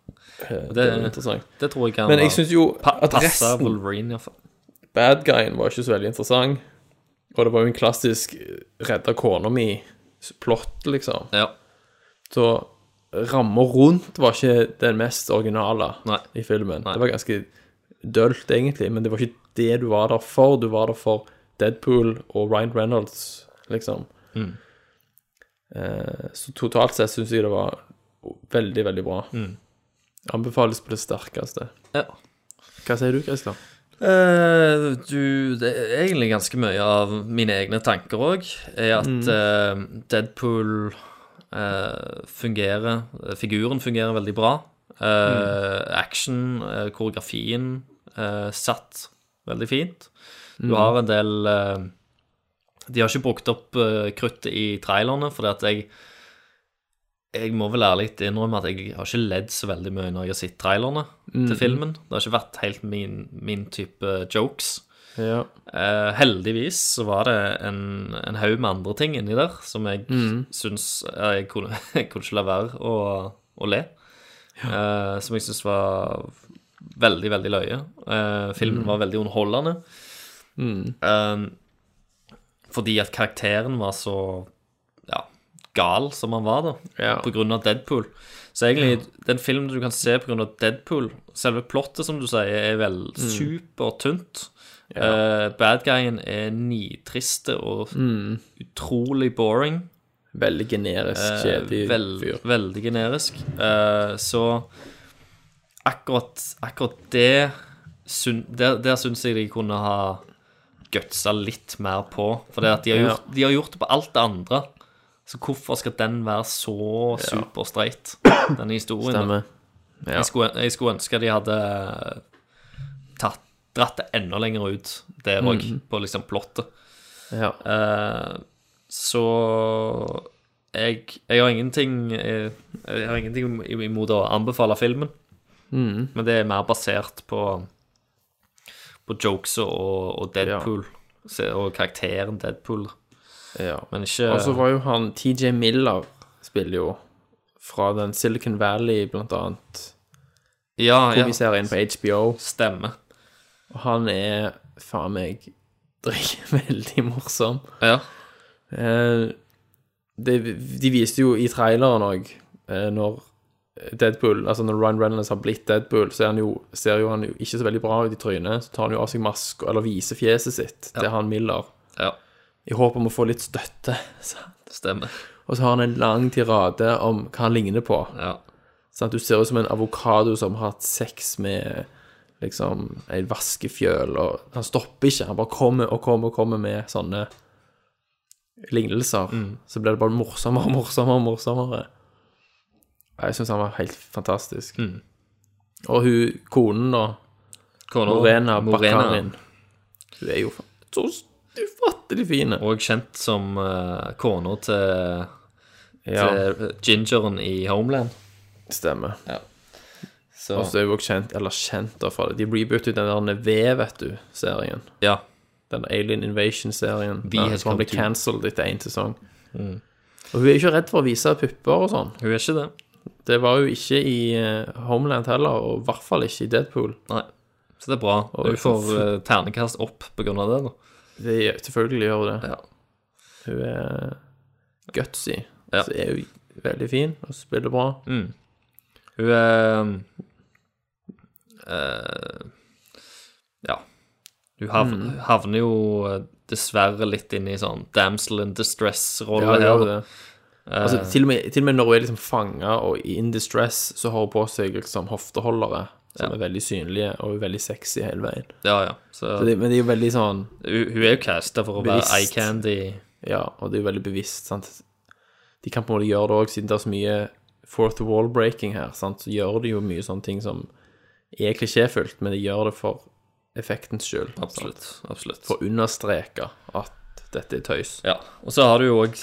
Eh, Det, Og det er interessant. Det tror jeg kan Men jeg være- syns jo pa at passe resten Wolverine, i hvert fall. Bad guyen var ikke så veldig interessant. Og det var jo en klassisk redda kona mi-plott, liksom. Så ramma rundt var ikke den mest originale i filmen. Det var ganske dølt, egentlig, men det var ikke det du var der for. Du var der for Deadpool og Ryan Reynolds, liksom. Mm. Eh, Så totalt sett syns jeg det var veldig, veldig bra. Mm. Anbefales på det sterkeste. Ja. Hva sier du, Christer? Eh, du, det er egentlig ganske mye av mine egne tanker òg. Er at Mm. eh, Deadpool eh, fungerer Figuren fungerer veldig bra. Eh, Mm. Action, eh, koreografien eh, satt veldig fint. Du Mm. har en del eh, De har ikke brukt opp eh, kruttet i trailerne, fordi at jeg jeg må vel ærlig innrømme at jeg har ikke ledd så veldig mye når jeg har sett trailerne Mhm. til filmen. Det har ikke vært helt min, min type jokes. Ja. Eh, heldigvis så var det en, en haug med andre ting inni der som jeg Mhm. syns eh, jeg, kunne, jeg kunne ikke la være å, å le. Eh, som jeg syns var veldig, veldig løye. Eh, filmen Mhm. var veldig underholdende. Mm. Eh, fordi at karakteren var så ja, gal som han var, da. På grunn av Deadpool. Så egentlig, den filmen du kan se på grunn av Deadpool Selve plottet, som du sier, er vel Mm. supertynt. Eh, bad guyen er nitriste og Mm. utrolig boring. Veldig generisk, kjedelig Eh, vel, veldig generisk. Eh, så akkurat, akkurat det syn, Der, der syns jeg de kunne ha gutsa litt mer på. For det at de, har Ja. gjort- de har gjort det på alt det andre. Så hvorfor skal den være så superstreit, denne historien? da? Stemmer. Ja. Jeg, skulle, jeg skulle ønske de hadde tatt, dratt det enda lenger ut der òg, Mhm. på liksom plottet. Ja. Eh, så jeg, jeg har ingenting jeg, jeg har ingenting imot å anbefale filmen, Mhm. men det er mer basert på På jokes og, og Deadpool. Se- Og karakteren Deadpool. Men ikke Og så var jo han TJ Miller spiller jo fra den Silicon Valley, blant annet. Ja, ja. Komiserien på HBO. Stemmer. Og han er faen meg dri- veldig morsom. Ja. Eh, det, De viste jo i traileren òg, når Deadpool Altså når Ryan Reynolds har blitt Deadpool, så er han jo, ser jo han jo ikke så veldig bra ut i trynet. Så tar han jo av seg maska, eller viser fjeset sitt til han Miller. I håp om å få litt støtte. Stemmer. Og så har han en lang tirade om hva han ligner på. Sånn at du ser ut som en avokado som har hatt sex med liksom ei vaskefjøl, og han stopper ikke. Han bare kommer og kommer og kommer med sånne lignelser. Mm. Så blir det bare morsommere og morsommere og morsommere. Ja, Jeg syns han var helt fantastisk. Mm. Og hun konen, da. Kona, Morena Morena. Bakarin. Hun er jo fa- så ufattelig fin. Og kjent som uh, kona til, Ja. til gingeren i Homeland. Stemmer. Ja. Så, Og så Altså, er hun også kjent, eller kjent da fra det. De rebootet den der V, vet du, serien. Ja. Den Alien Invasion-serien. Vi Den has som come ble to. cancelled etter én sesong. Mm. Og hun er ikke redd for å vise pupper og sånn. Hun er ikke det. Det var hun ikke i eh, Homeland heller, og i hvert fall ikke i Deadpool. Nei. så det er bra. Og Hun får eh, ternekast opp på grunn av det. Da. Det, gjør- selvfølgelig gjør hun det. Hun er gutsy. Så er hun veldig fin og spiller bra. Mm. Hun er eh, Ja. Hun havner, Mm. havner jo eh, dessverre litt inn i sånn damsel in distress-rolle Ja, hun her. gjør det. Eh, altså, til, og med, til og med når hun er liksom fanga og in distress, så har hun på seg liksom hofteholdere som er veldig synlige og er veldig sexy hele veien. ja, ja. Så, Så det, men det er jo veldig sånn hun, hun er jo casta for å være eye candy. Ja, og det er jo veldig bevisst, sant. De kan på en måte gjøre det òg, siden det er så mye fourth wall breaking her, sant, så gjør de jo mye sånne ting som er klisjéfullt, men de gjør det for effektens skyld. Absolutt, absolutt. For å understreke at dette er tøys. Ja, og så har du jo òg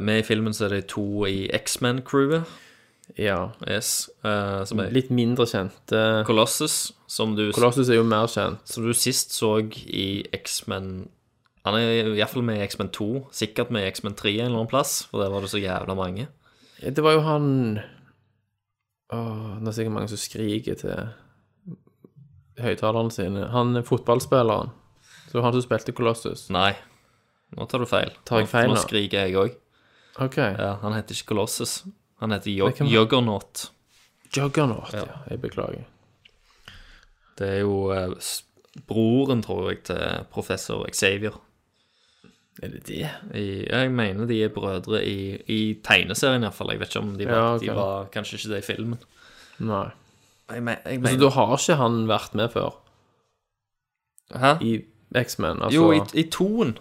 med i filmen så er det to i X-Men-crewet. Ja. Yes, eh, som er Litt mindre kjente Colossus, som du Colossus er jo mer kjent. Som du sist så i X-Men Han er iallfall med i X-Men 2, sikkert med i X-Men 3 en eller annen plass, for der var det så jævla mange. Ja, Det var jo han Åh, det er sikkert mange som skriker til høyttalerne sine. Han er fotballspilleren. Så han som spilte Colossus. Nei, nå tar du feil. Tar jeg feil nå? nå? Nå skriker jeg òg. Ok. Ja, han heter ikke Colossus. Han heter jo Det kan- Juggernaut. Juggernaut, ja. Jeg beklager. Det er jo eh, s- broren, tror jeg, til professor Xavier. Er det det? I, jeg mener de er brødre i, i tegneserien, iallfall. Jeg vet ikke om de var, Ja, ok. de var kanskje ikke det i filmen. Nei. Jeg, me- jeg Altså, mener da har ikke han vært med før? Hæ? I X-Men, altså? Jo, i, i toen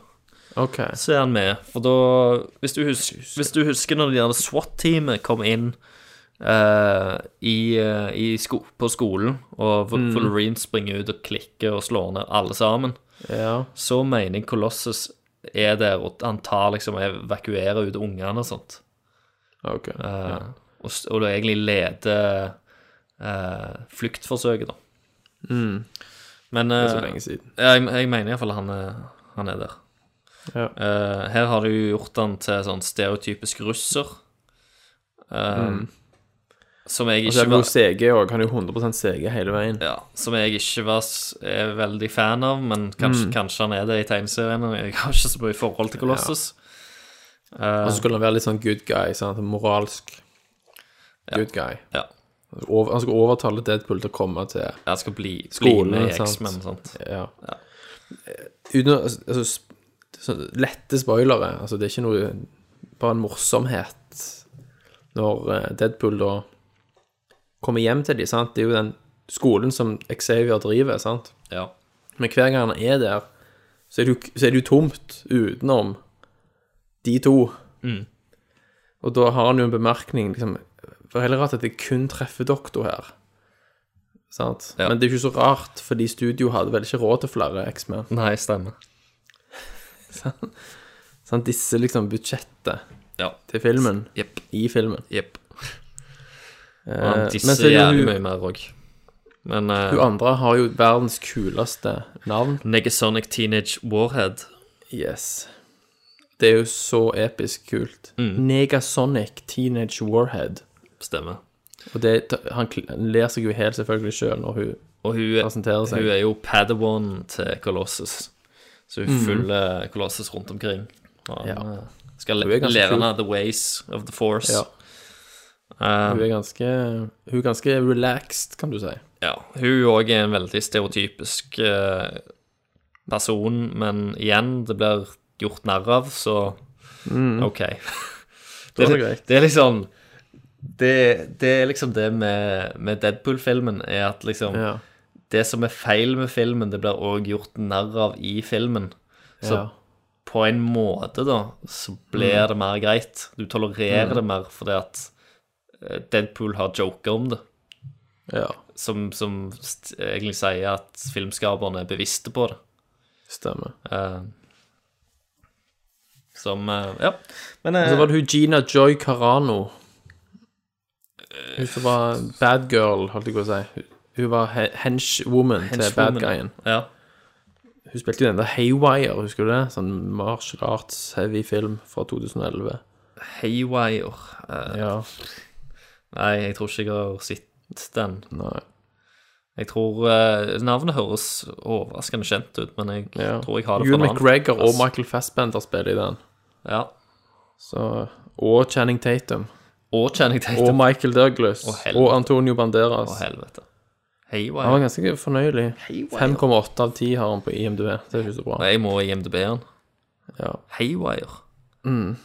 Ok. så er han med. For da Hvis du husker, hvis du husker når de der SWAT-teamet kom inn eh, i, eh, i sko på skolen, og Vol- Mm. Wolverine springer ut og klikker og slår ned alle sammen, Ja. så mener jeg Colossus er der, og han tar liksom og evakuerer ut ungene og sånt. Ok. Eh, ja. og, s- og da egentlig leder eh, fluktforsøket, da. Mm. Men Det er så eh, lenge siden. ja, Jeg, jeg mener iallfall han, er- han er der. Ja. Eh, her har du gjort han til sånn stereotypisk russer. eh, Mm. Som jeg Altså, ikke han er jo var, CG òg. Han er jo 100 CG hele veien. ja, som jeg ikke var s- er veldig fan av, men kanskje, Mm. kanskje han er det i tegneseriene. Jeg har ikke så mye forhold til Colossus. Eh, Og så skulle han være litt sånn good guy, sant? moralsk good guy. Ja. Over, han skal overtale Deadpool til å komme til Jeg skal bli, bli skolen. med i sant? X-Men, sant. Ja. Uten å altså, sp- sånn Lette spoilere. Altså, det er ikke noe Bare en morsomhet når eh, Deadpool da kommer hjem til dem, sant. Det er jo den skolen som Xavier driver, sant. Ja. Men hver gang han er der, så er det jo, så er det jo tomt utenom de to. Mm. Og da har han jo en bemerkning liksom, For heller rart at det kun treffer doktor her. Sant? Men det er jo ikke så rart, fordi studio hadde vel ikke råd til flere X-Men. Nei, stemmer. Sant? Sant? Disse liksom budsjettet Ja. til filmen. Jepp. I filmen. Jepp. Eh, Og han men disser så er det jo jævlig hun- mye mer òg. Men eh, Hun andre har jo verdens kuleste navn. Negasonic Teenage Warhead. Yes. Det er jo så episk kult. Negasonic Teenage Warhead. Stemmer. Og det, han kl- han ler seg jo helt selvfølgelig sjøl når hun Og hun, presenterer seg. hun er jo padawan til Colossus, så hun Mhm. følger Colossus rundt omkring. Og han, eh, Skal Hun er lære ganske henne kul. the ways of the force. Eh, Ja. Hun er ganske Hun er ganske relaxed, kan du si. Ja, hun òg er en veldig stereotypisk eh, person, men igjen, det blir gjort narr av, så Mm. OK. Da er det det, greit. det er liksom det, det er liksom det med, med Deadpool-filmen, er at liksom Ja. Det som er feil med filmen, det blir òg gjort narr av i filmen. Så Ja. på en måte, da, så blir Mm. det mer greit. Du tolererer Mm. det mer fordi at eh, Deadpool har joker om det. Som, som st- egentlig sier at filmskaperne er bevisste på det. Stemmer. som eh, Ja. Men Og eh, så var det hun Gina Joy Carano. Hun som var bad girl, holdt jeg på å si. Hun- Hun var he- henchwoman til bad Henchwoman, guyen. ja. Hun spilte jo den der Haywire, husker du det? Sånn martial arts heavy film fra 2011. Haywire eh, Ja. Nei, jeg tror ikke jeg har sett den. Nei. Jeg tror eh, Navnet høres overraskende kjent ut, men jeg Ja. tror jeg har det Ewan en annen McGregor og plass. Michael Fassbender spiller i den. Ja. Så, og Channing Tatum. Og Channing Tatum. Og Michael Douglas. Å, Og, helvete. Antonio Banderas. Å, helvete. Han var Haywire. ganske fornøyelig. 5,8 av 10 har han på IMDb. Det er ikke så bra. Nei, Jeg må IMDb den. Ja. Haywire. Mm.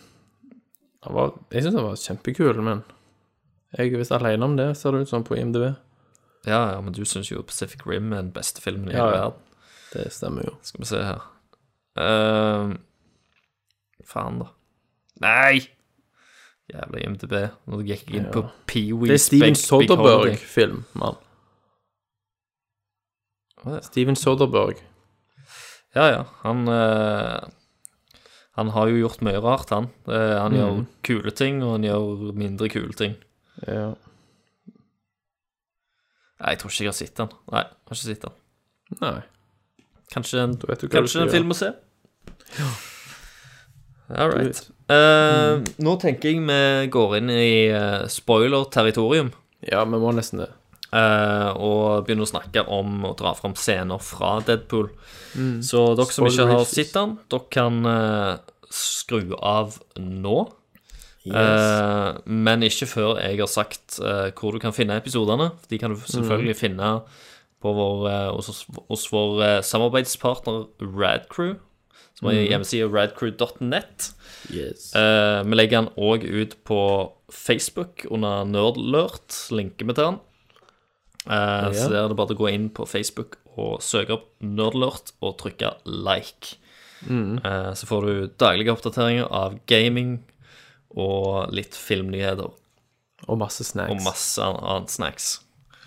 Han var, jeg syns han var kjempekul, men jeg er visst aleine om det, ser det ut som, på IMDb. Ja, ja, men du syns jo Pacific Rim er den beste filmen i Ja, hele ja. verden. Det stemmer jo. Skal vi se her Ehm, Faen, da. Nei! Jævla IMDb. Nå gikk jeg inn Ja. på Pee-wee's Det er Steven Big- Big Holiday. Soderberg-film, mann. Å, ja. Steven Soderberg. Ja, ja. Han eh, Han har jo gjort mye rart, han. Eh, han Mhm. gjør kule ting, og han gjør mindre kule ting. Ja. Nei, jeg tror ikke jeg har sett den. Nei, jeg har ikke sett den. Nei. Kanskje en, Da vet du hva du kanskje skal en gjøre. film å se? All Du right. vet. Eh, Mm. Nå tenker jeg vi går inn i eh, spoiler-territorium. Ja, vi må nesten det. Eh, og begynner å snakke om å dra fram scener fra Deadpool. Mm. Så dere som ikke Spoiler har issues. sett den, dere kan eh, skru av nå. Yes. Eh, men ikke før jeg har sagt eh, hvor du kan finne episodene. De kan du selvfølgelig finne på vår, eh, hos, oss- hos vår eh, samarbeidspartner Radcrew, som er Mhm. hjemmesida radcrew.net. Yes. Eh, vi legger den òg ut på Facebook under Nerdlurt. Linker vi til den. Eh, Ja. Så der er det bare å gå inn på Facebook og søke opp Nerdlurt og trykke like. Mm. Eh, så får du daglige oppdateringer av gaming og litt filmnyheter. Og masse snacks. Og masse an- annet snacks.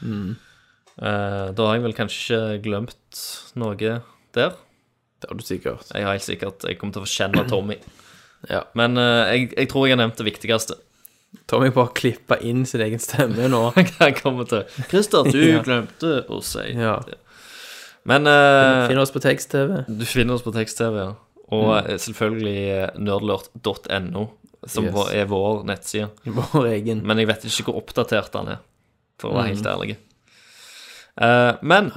Mm. Eh, da har jeg vel kanskje glemt noe der. Det har du sikkert. Jeg har helt sikkert, jeg kommer til å forkjenne Tommy. Ja. Men eh, jeg, jeg tror jeg har nevnt det viktigste. Tommy bare klippa inn sin egen stemme nå. Jeg kommer til Christer, du Ja. glemte å si Ja. det. Men eh, Finner oss Mm. på tekst-TV. Du finner oss på tekst-TV, ja. Og eh, selvfølgelig eh, nerdlurt.no, som Yes. vår- er vår nettside. Vår egen. Men jeg vet ikke hvor oppdatert den er, for å være Mm. helt ærlig. Eh, men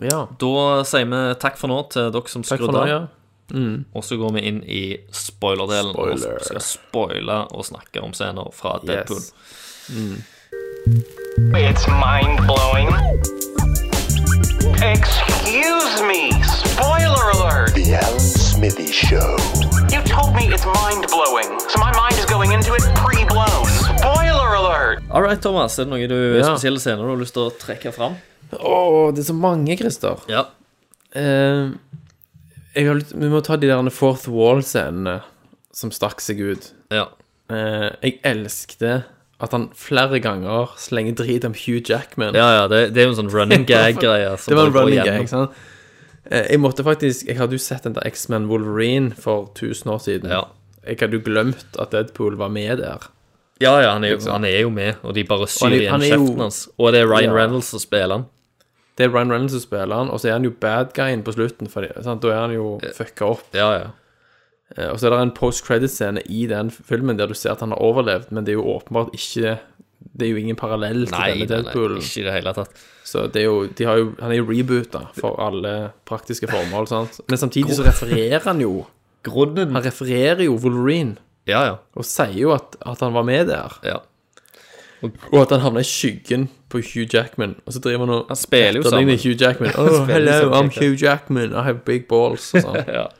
Ja. da sier vi takk for nå til dere som Takk for skrudde nå, av. ja. Mm. Og så går vi inn i spoiler-delen Spoiler. og skal spoile og snakke om scener fra Deadpool. It's mind blowing. Excuse me, spoiler alert! The Alan Smithy Show. You told me it's mind blowing, so my mind is going into it pre blown. Spoiler alert! All right, Thomas, er det noen du, Ja. spesielle scener du har lyst til å trekke fram? Å, det er så mange, Christer. Ja. Eh, jeg har lyst, vi må ta de der Fourth Wall-scenene som stakk seg ut. Ja. Eh, jeg elskte at han flere ganger slenger drit om Hugh Jackman. Ja, ja, det, det er jo en sånn running gag-greie. som Det var bare en går running gjennom. gag, ikke sant? Eh, Jeg måtte faktisk Jeg hadde jo sett den der X-Men Wolverine for 1000 år siden. Jeg hadde jo glemt at Deadpool var med der. Ja, ja, han er, jo, han er jo med, og de bare syr han er- igjen han er jo- kjeften hans. Og det er Ryan Ja. Reynolds som spiller han. Det er Ryan Reynolds som spiller han, og så er han jo bad guyen på slutten. Fordi, sant? Da er han jo fucka opp. Eh, Og så er det en post-credit-scene i den filmen der du ser at han har overlevd, men det er jo åpenbart ikke Det er jo ingen parallell til Nei, denne nei, nei, Deadpoolen. ikke i det hele tatt. Så det er jo, de har jo, han er jo reboota for alle praktiske formål, sant. Men samtidig så Hvor- refererer han jo Grunnen Han refererer jo Wolverine. Ja, ja. Og sier jo at, at han var med der. Ja. Og, at han havna i skyggen på Hugh Jackman. Og så driver han og Han spiller jo etterligner sammen. Hugh Jackman. Han Oh, spiller hello, som I'm Jackman. Hugh Jackman. I have big balls. Og sånn. Ja.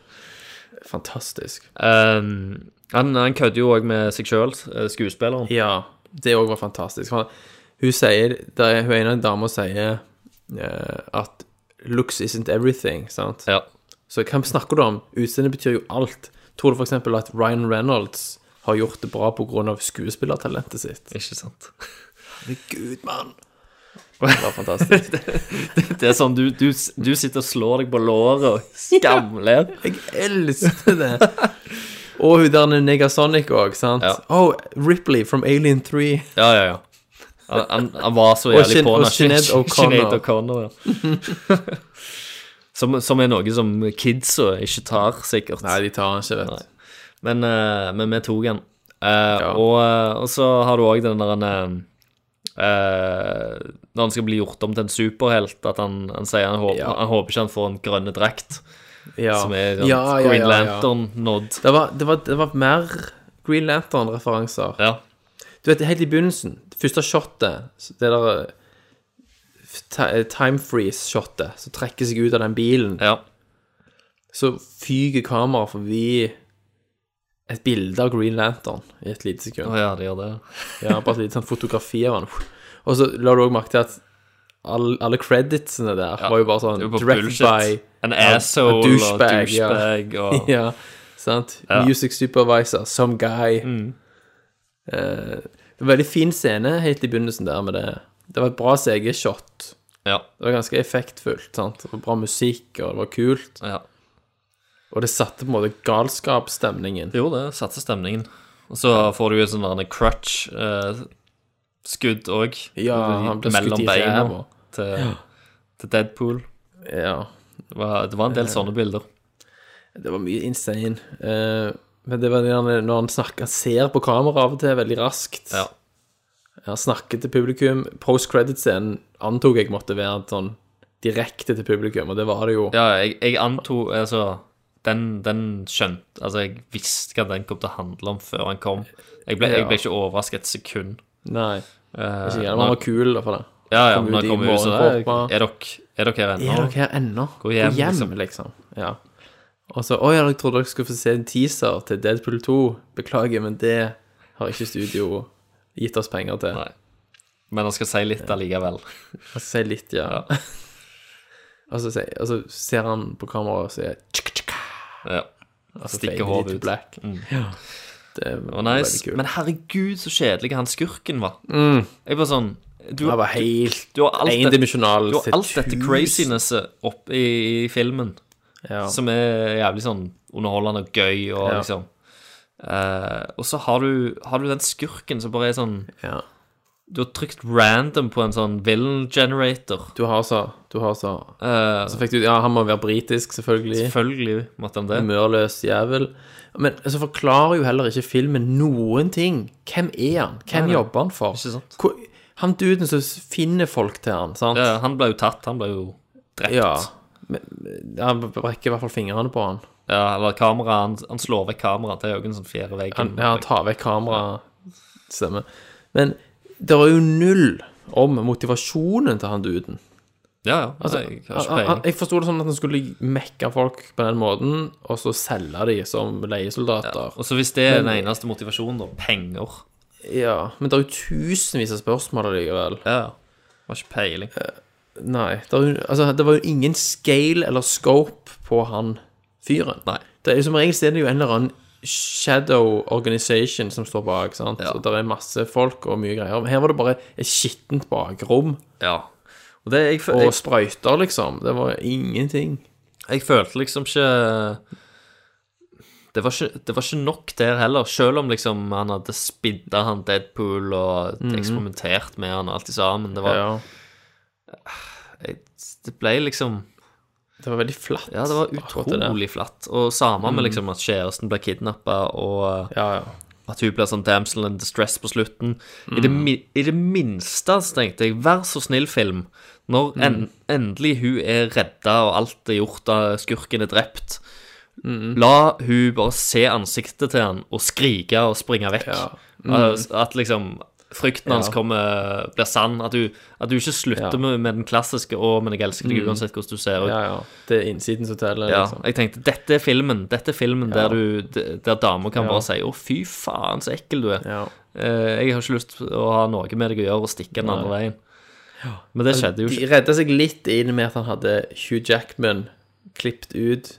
Fantastisk. Ehm, han, han kødder jo òg med seg sjøl, skuespilleren. Ja, det òg var fantastisk. For hun sier det er, Hun ene dama sier eh, at looks isn't everything, sant? Ja. Så hva snakker du om? Utseendet betyr jo alt. Tror du f.eks. at Ryan Reynolds har gjort det bra pga. skuespillertalentet sitt? Ikke sant. Herregud, mann! Det var fantastisk. Det er sånn du, du, du sitter og slår deg på låret og skamler. Jeg elsker det. Og hun der Negasonic òg, sant? Oh, Ripley from Alien 3. Ja, ja, ja. Han, han, han var så Og jævlig Shin- på og henne. Sinead O'Connor. Sinead O'Connor, ja. som, som er noe som kidsa ikke tar, sikkert. Nei, de tar den ikke, vet du. Men, eh, men vi tok den. Eh, og, eh, og så har du òg den der han, eh, Når han skal bli gjort om til en superhelt, at han, han sier han håper, han håper ikke han får en grønne drakt. Ja. Som er sånn Ja, ja, Green ja, ja. Lantern-nod. Det var, det var, det var mer Green Lantern-referanser. Ja. Du vet, helt i begynnelsen, det første shotet, det der eh, ti- eh, time freeze-shotet, som trekker seg ut av den bilen, så fyker kameraet forbi et bilde av Green Lantern i et lite sekund. Å ja, det gjør det. Ja, bare et lite sånn fotografi av han. Og så la du òg merke til at all, alle creditsene der var jo bare sånn det var bare Directed bullshit. by An a- asshole og ja. douchebag og- ja, sant? Ja. Mm. Music supervisor, some guy. Eh, det var en veldig fin scene helt i begynnelsen der med det. Det var et bra CG-shot. Ja. Det var ganske effektfullt. sant? Det var Bra musikk, og det var kult. Og det satte på en måte galskapsstemningen. Det gjorde det. Satte stemningen. Og så får du jo sånn der en crutch eh, skudd òg. Ja, han ble skutt i ræva. til, Ja. til Deadpool. Ja. Det var, det var en del Eh. sånne bilder. Det var mye insane. Eh, men det var gjerne når han snakker, han ser på kamera av og til veldig raskt. Ja. Han snakker til publikum. Post-credit-scenen antok jeg måtte være sånn direkte til publikum, og det var det jo. Ja, jeg, jeg antok Altså, den, den skjønte Altså, jeg visste hva den kom til å handle om før han kom. Jeg ble, jeg Ja. ble ikke overraska et sekund. Nei. Eh, Ikke når- gjerne, men han var kul da, for det. Ja, ja, Kom men ut i han kom ut sånn Er morgenkåpa. er dere er dere her ennå? Er dere her ennå? Gå hjem, liksom. liksom. Ja. Og så Å ja, jeg trodde dere skulle få se en teaser til Deadpool 2. Beklager, men det har ikke studio gitt oss penger til. Nei. Men han skal si litt allikevel. Han sier litt, ja. og, så sier, og så ser han på kameraet og sier tsk, tsk, Ja. og så Stikker fader de hodet til ut. Black. Mm. Ja. Det Og var veldig nice. kult. Men herregud, så kjedelig han skurken var. Mm. Jeg bare sånn du, Han var du- helt du har alt det- endimensjonal Du har til alt dette tusen. crazinesset oppe i, i filmen, Ja. som er jævlig sånn underholdende og gøy og Ja. liksom Eh, Og så har du, har du den skurken som bare er sånn Du har trykt random på en sånn villain generator. Du har så, du har så. Eh, Så fikk du, ja, han må være britisk, selvfølgelig. selvfølgelig måtte han det. Humørløs jævel. Men så forklarer jo heller ikke filmen noen ting. Hvem er han? Hvem Nei, nei. jobber han for? Ikke sant? Hvor, han duden som finner folk til han, sant? Ja, han ble jo tatt. Han ble jo drept. Ja. Men, men han brekker i hvert fall fingrene på han. Ja, eller kamera, han, han slår vekk kameraet. Det er jo ikke en sånn fjerde Han, veggen. ja, han tar vekk kameraet. Stemmer. Men det er jo null om motivasjonen til han duden. Ja, ja. Altså, Nei, jeg har han, ikke han, peiling. jeg forsto det sånn at han skulle mekke folk på den måten, og så selge de som leiesoldater. Og så hvis det er Men- den eneste motivasjonen, da, penger Ja, men det er jo tusenvis av spørsmål allikevel. Ja, har ikke peiling. Eh. Nei. Det, er jo, altså, det var jo ingen scale eller scope på han fyren. Nei. Det er jo som regel så er det jo en eller annen shadow organization som står bak, sant. Og det er masse folk og mye greier. Men her var det bare et skittent bakrom. Ja. Og det, jeg, fø- Og jeg, sprøyter, liksom. Det var ingenting. jeg følte liksom ikke det var, ikke, det var ikke nok der heller, selv om liksom han hadde spidda han Deadpool og Mhm. eksperimentert med han og alt i sammen. Det var Ja. jeg, Det ble liksom Det var veldig flatt. Ja, det var akkurat det der. utrolig flatt. Og samme med Mm. liksom at kjæresten ble kidnappa, og eh, Ja, ja. at hun blir sånn damsel in distress på slutten. I, det, mi- I det minste så tenkte jeg, vær så snill, film, Mm. når en, endelig hun er redda, og alt er gjort, og skurken er drept, Mhm. La hun bare se ansiktet til han og skrike og springe vekk. Mhm. At- At liksom frykten hans Ja. kommer, blir sann. At du, at du ikke slutter Ja. med, med den klassiske 'Å, men jeg elsker deg Mhm. uansett hvordan du ser ut'. Ja, ja. Det er innsiden som teller. Ja, liksom. jeg tenkte dette er filmen Dette er filmen Ja. der, du, d- der damer kan Ja. bare si Å fy faen så ekkel du er Eh, Jeg har ikke lyst å ha noe med deg å gjøre Og stikke den andre Nei. veien Men det skjedde jo De ikke redda seg litt inn med at han hadde Hugh Jackman klippet ut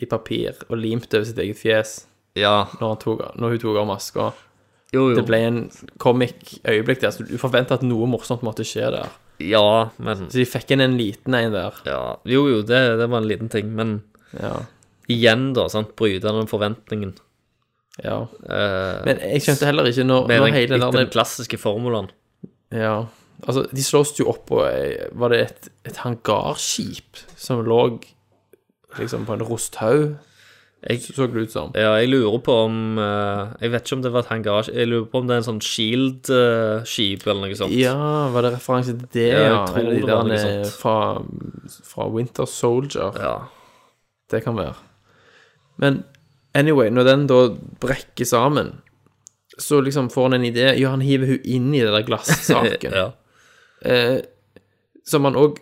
i papir og limt over sitt eget fjes ja. når, han tok, når hun tok av maska. jo. Det ble en comic øyeblikk der, så du forventa at noe morsomt måtte skje der. Ja, men Så de fikk inn en liten en der. Ja, Jo jo, det, det var en liten ting Men igjen da, sant Bryter den forventningen Ja. Eh, Men jeg skjønte heller ikke når- med når den- hele den etter der- den klassiske formulaen Ja. Altså, de slåss jo opp på ei- Var det et, et hangarskip som lå liksom på en rusthaug? Så så det ut som. Ja, jeg lurer på om eh, Jeg vet ikke om det var et hangarskip. Jeg lurer på om det er en sånn Shield-skip eller noe sånt. Ja, var det referanse til det? Ja, Ja, jeg tror Eller de det var der noe nede sånt. fra, fra Winter Soldier. liksom. Ja. Det kan være. Men anyway, når den da brekker sammen, så liksom får han en idé. Ja, han hiver hun inn i den der glassaken. Ja. eh, som han òg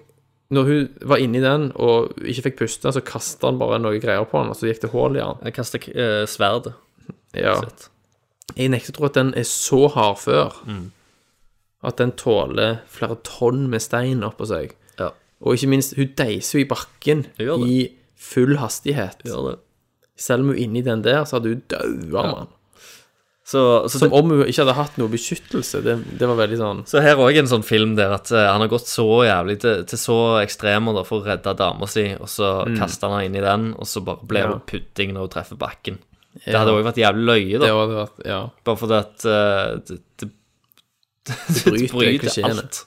Når hun var inni den og ikke fikk puste, så kasta han bare noe greier på han, og så gikk det hull i han. Jeg kastet uh, sverdet. Ja. Jeg nekter å tro at den er så hard før Mm. at den tåler flere tonn med stein oppå seg. Ja. Og ikke minst, hun deiser jo i bakken gjør det. i full hastighet. Gjør det. Selv om hun er inni den der, så hadde hun daua, Ja. mann. Så, så, Som Altså, det, om hun ikke hadde hatt noe beskyttelse. Det, det var veldig sånn så her òg en sånn film der at eh, han har gått så jævlig til, til så ekstremer da, for å redde dama si, og så Mm. kaster han henne inn i den, og så bare blir Ja. hun pudding når hun treffer bakken. Det Ja. hadde òg vært jævlig løye, da. Det hadde vært- ja. Bare fordi at eh, det, det, det bryter klisjeene. alt.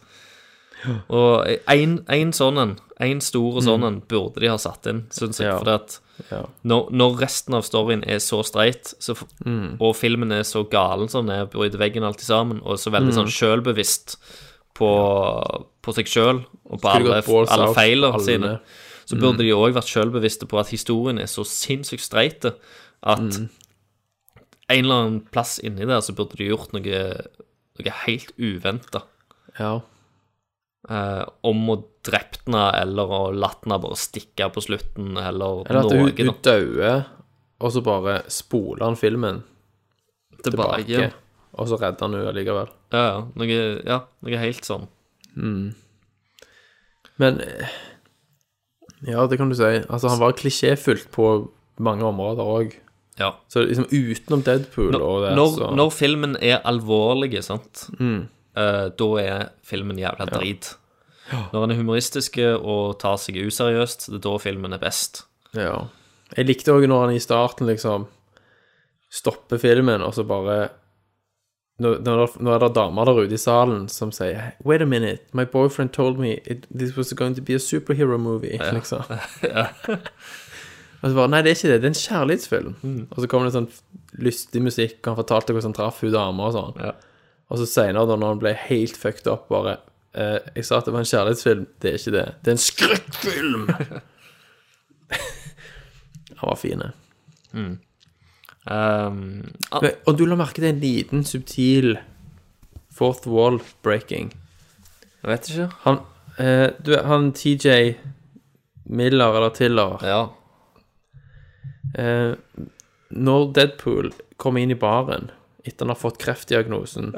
Og en, en sånn en, en stor sånn en, burde de ha satt inn, syns jeg. Mm. Ja. Fordi at Ja. når, når resten av storyen er så streit, så, f- Mm. og filmen er så galen som den er, bryter veggen alltid sammen, og så veldig Mm. sånn sjølbevisst på, på seg sjøl og på Skulle alle, gått balls alle out, feilene alle. sine, så Mm. burde de òg vært sjølbevisste på at historien er så sinnssykt streit eh, at Mm. en eller annen plass inni der så burde de gjort noe, noe helt uventa. Ja. Eh, om å drept henne, eller å latt henne bare stikke på slutten, eller, Eller at noe. hun, da. hun dauer, og så bare spoler han filmen Tilbake. Og så redder han henne likevel. Ja, ja, noe, ja, noe helt sånn. Mm. Men eh, Ja, det kan du si. Altså, han var klisjéfylt på mange områder òg. Ja. Så liksom utenom Deadpool Når, og det når, så, når filmen er alvorlig, sant, Mm. eh, da er filmen jævla drit. Ja. Når den er humoristisk og tar seg useriøst, det er da filmen er best. Ja. Jeg likte òg når han i starten liksom stopper filmen, og så bare Nå, nå, er det- nå er det damer der ute i salen som sier Wait a minute, my boyfriend told me it, this was going to be a superhero movie, liksom. og så bare Nei, det er ikke det, det er en kjærlighetsfilm. Og så kommer det sånn lystig musikk, og han fortalte hvordan han traff hun dama og sånn. Og så seinere, da når han ble helt fucked up, bare eh, Jeg sa at det var en kjærlighetsfilm, det er ikke det. Det er en skrekkfilm! Han var fin. Mm. Um, ah, Men- Og du la merke til en liten, subtil fourth wall breaking. Jeg vet ikke. Han, eh, du, vet, han TJ Miller, eller Tiller Ja. Eh, når Deadpool kommer inn i baren etter han har fått kreftdiagnosen,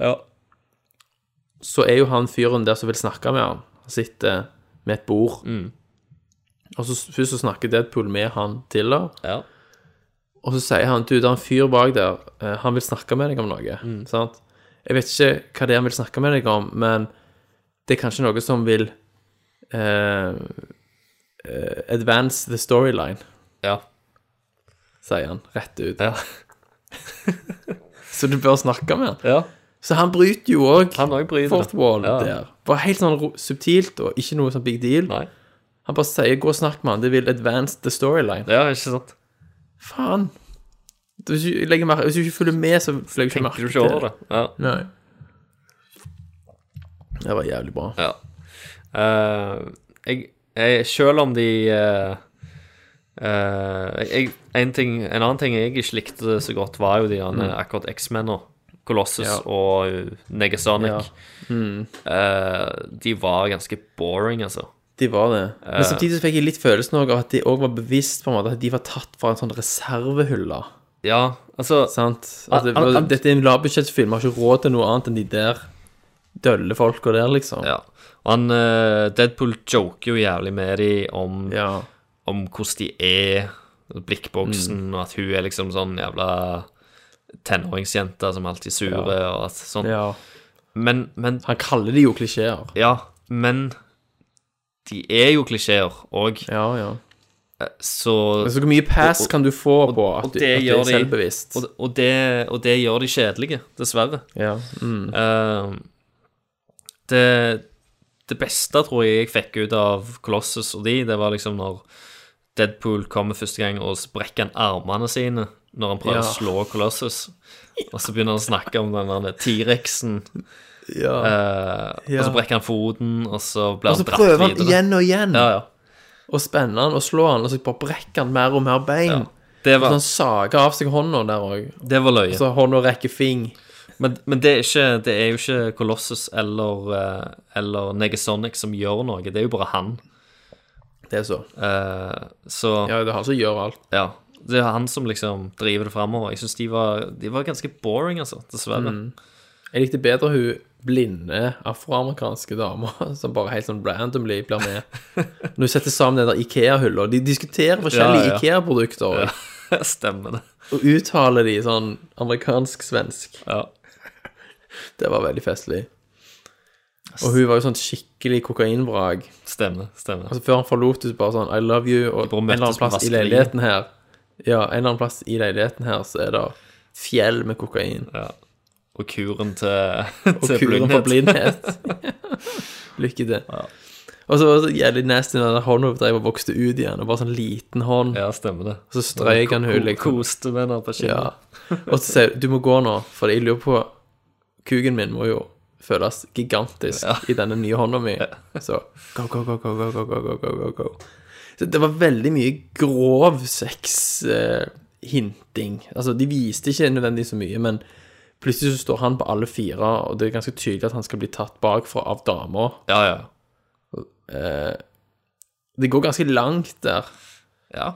så er jo han fyren der som vil snakke med han. Han sitter med et bord. Og så først så snakker Deadpool med han Tiller. Og så sier han, du, det er en fyr bak der, eh, han vil snakke med deg om noe, sant? Jeg vet ikke hva det er han vil snakke med deg om, men det er kanskje noe som vil eh, eh, advance the storyline. Ja. Sier han, rett ut. så du bør snakke med han. Så han bryter jo også fourth wall Ja. der. Bare helt sånn ro- subtilt og ikke noe sånn big deal. Han bare sier, gå og snakk med han, det vil advance the storyline. Ja, ikke sant. Faen. Hvis du, ikke legger merke, hvis du ikke følger med, så legger du ikke merke Tenker du ikke over det? Ja. Nei. Det var jævlig bra. Ja. Eh, jeg, jeg, selv om de eh, Eh, jeg, en, ting, en annen ting jeg ikke likte så godt, var jo de mm. Mm. akkurat X-mennene. Colossus Ja. og eh, Negasonic. Ja. Mm. Eh, de var ganske boring, altså. De var det. Eh. Men samtidig så fikk jeg litt følelsen også av at de òg var bevisst på en måte at de var tatt fra en sånn reservehylle. Ja, altså Sant? At det, Al- al- al- dette er en lavbudsjettfilm, vi har ikke råd til noe annet enn de der dølle folka der, liksom. Ja. Og han, eh, Deadpool joker jo jævlig med de om, om hvordan de er, Mm. blikkboksen, og at hun er liksom sånn jævla tenåringsjente som alltid er sure, og at sånn. Ja. Men, men Han kaller de jo klisjeer. Ja, men de er jo klisjeer òg. Ja, ja. Så Men så Altså, hvor mye pass og- og- kan du få på at og du, det at du gjør er de- selvbevisst? Og, og, det, og det gjør de kjedelige, dessverre. Ja, mm. Eh, det, det beste tror jeg jeg fikk ut av Colossus og de, det var liksom når Deadpool kommer første gang og så brekker han armene sine når han prøver Ja. å slå Colossus. Og så begynner han å snakke om den der T-rexen. Ja. Eh, Og Ja. så brekker han foten, og så blir Og så han dratt prøver han videre. igjen og igjen. Ja, ja. Og spenner han og slår han, og så bare brekker han mer og mer bein. Det var- Og så han sager av seg hånda der òg. Det var løye. Så hånda rekker fing. Men, men det, er ikke, det er jo ikke Colossus eller, eh, eller Negasonic som gjør noe, det er jo bare han. Det er så. Eh, så Ja, det er han som gjør alt. Ja. Det er han som liksom driver det framover. Jeg syns de, var- de var ganske boring, altså, dessverre. Mm. Jeg likte bedre hun blinde afroamerikanske dama som bare helt sånn randomly blir med. Når hun setter sammen den der Ikea-hylla. De diskuterer Ja, forskjellige ja. Ikea-produkter. og- Ja, stemmer det. Og uttaler de sånn amerikansk-svensk. Ja. Det var veldig festlig. Og hun var jo sånn skikkelig kokainvrak. Stemmer. stemmer. Altså Før han forlot henne, bare sånn I love you. Og en eller annen møttes på plass i vaskeriet. leiligheten her Ja, en eller annen plass i leiligheten her så er det fjell med kokain. Ja. Og kuren til, Og kuren for blindhet. Lykke til. Og så var det så jævlig nasty når den hånda drev og vokste ut igjen, og bare sånn liten hånd. Ja, stemmer det. Og så strøyk han Ko- hun, liksom. Koste med henne på Ja. kinnet. Og så sier hun, du må gå nå, for jeg lurer på Kuken min må jo føles gigantisk i denne nye hånda mi. Så go, go, go, go, go, go, go, go, go, go, go. Så det var veldig mye grov sex-hinting. altså, de viste ikke nødvendigvis så mye, men plutselig så står han på alle fire, og det er ganske tydelig at han skal bli tatt bakfra av dama. Ja, ja. Eh, det går ganske langt der. Ja.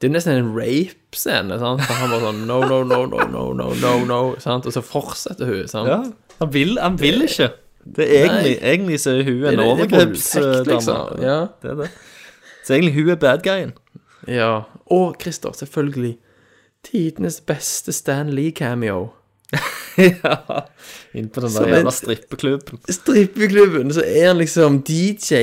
Det er jo nesten en rape-scene, sant? For han bare sånn no, no, no, no, no, no, no, no, sant? Og så fortsetter hun, sant? Ja, Han vil, han vil ikke. Det er egentlig, egentlig så er hun Det er- en det er overgrepsdame. voldtekt, liksom. Ja. Det er det. Så egentlig hun er bad guyen. Ja. Og Christer, selvfølgelig. Tidenes beste Stan Lee-cameo. ja. Inn på den Som der en- jævla strippeklubben. Strippeklubben, så er han liksom DJ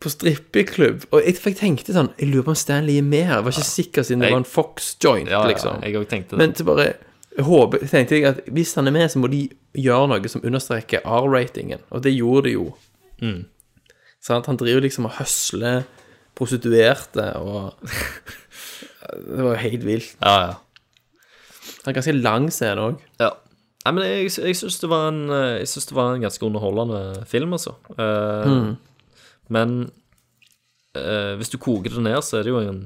på strippeklubb. Og jeg, for jeg tenkte sånn Jeg lurer på om Stan Lee er med her. Jeg var ikke sikker siden det Ah. Jeg- var en Fox-joint, Ja, ja, liksom. jeg også tenkte det. Men så bare jeg håper, tenkte jeg at hvis han er med, så må de gjøre noe som understreker R-ratingen. Og det gjorde de jo. Mm. Sant? Han driver liksom og høsler prostituerte og Det var jo helt vilt. Ja, ja. Han er ganske lang scene òg. Ja. Nei, men jeg, jeg syns det, var en, eh, jeg synes det var en ganske underholdende film, altså. Eh, Mm. Men eh, hvis du koker det ned, så er det jo en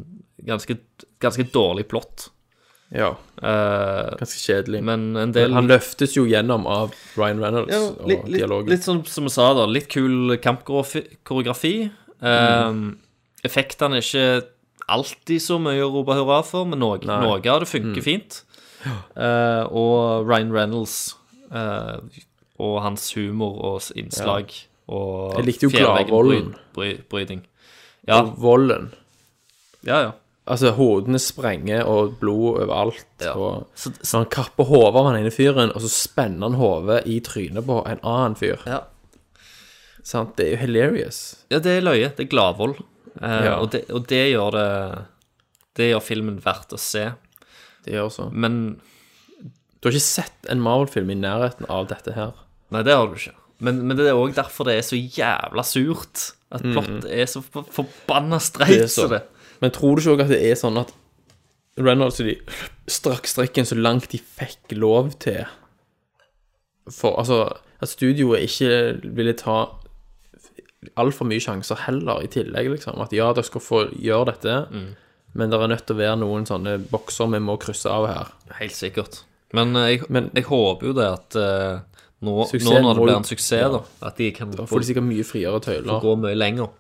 ganske, ganske dårlig plott. Ja. Eh, Ganske kjedelig. Men en del Han løftes jo gjennom av Ryan Reynolds ja, og litt, litt, dialogen. litt sånn som vi sa, da. Litt kul kampkoreografi. Eh, Mm. Effektene er ikke alltid så mye å rope hurra for, men noe, Nei. noe av det funker Mm. fint. Eh, og Ryan Reynolds eh, og hans humor og s- innslag og Jeg likte jo fjellveggen Gladvolden. bry, bry, Bryding. Ja. Og volden. Ja, ja. Altså, hodene sprenger, og blod overalt. Og så, han kapper hodet av han ene fyren, og så spenner han hodet i trynet på en annen fyr. Ja. Sant? Det er jo hilarious. Ja, det er løye. Det er gladvold. Eh, Ja. og, det, og det gjør det Det gjør filmen verdt å se. Det gjør så. Men Du har ikke sett en Marvel-film i nærheten av dette her. Nei, det har du ikke. Men, men det er òg derfor det er så jævla surt. At Mm. plott er så for, forbanna Det streit er så. som det. Men tror du ikke også at det er sånn at Reynolds og de strakk strikken så langt de fikk lov til? For altså At studioet ikke ville ta Mm. altfor mye sjanser heller, i tillegg, liksom. At ja, dere skal få gjøre dette, Men det er nødt til å være noen sånne bokser vi må krysse av her. Helt sikkert. Men eh, jeg, jeg håper jo det at eh, nå, nå når det Suksessen må blir jo- en suksess, ja. da, at de kan Da får de sikkert mye friere tøyler. få gå mye lenger.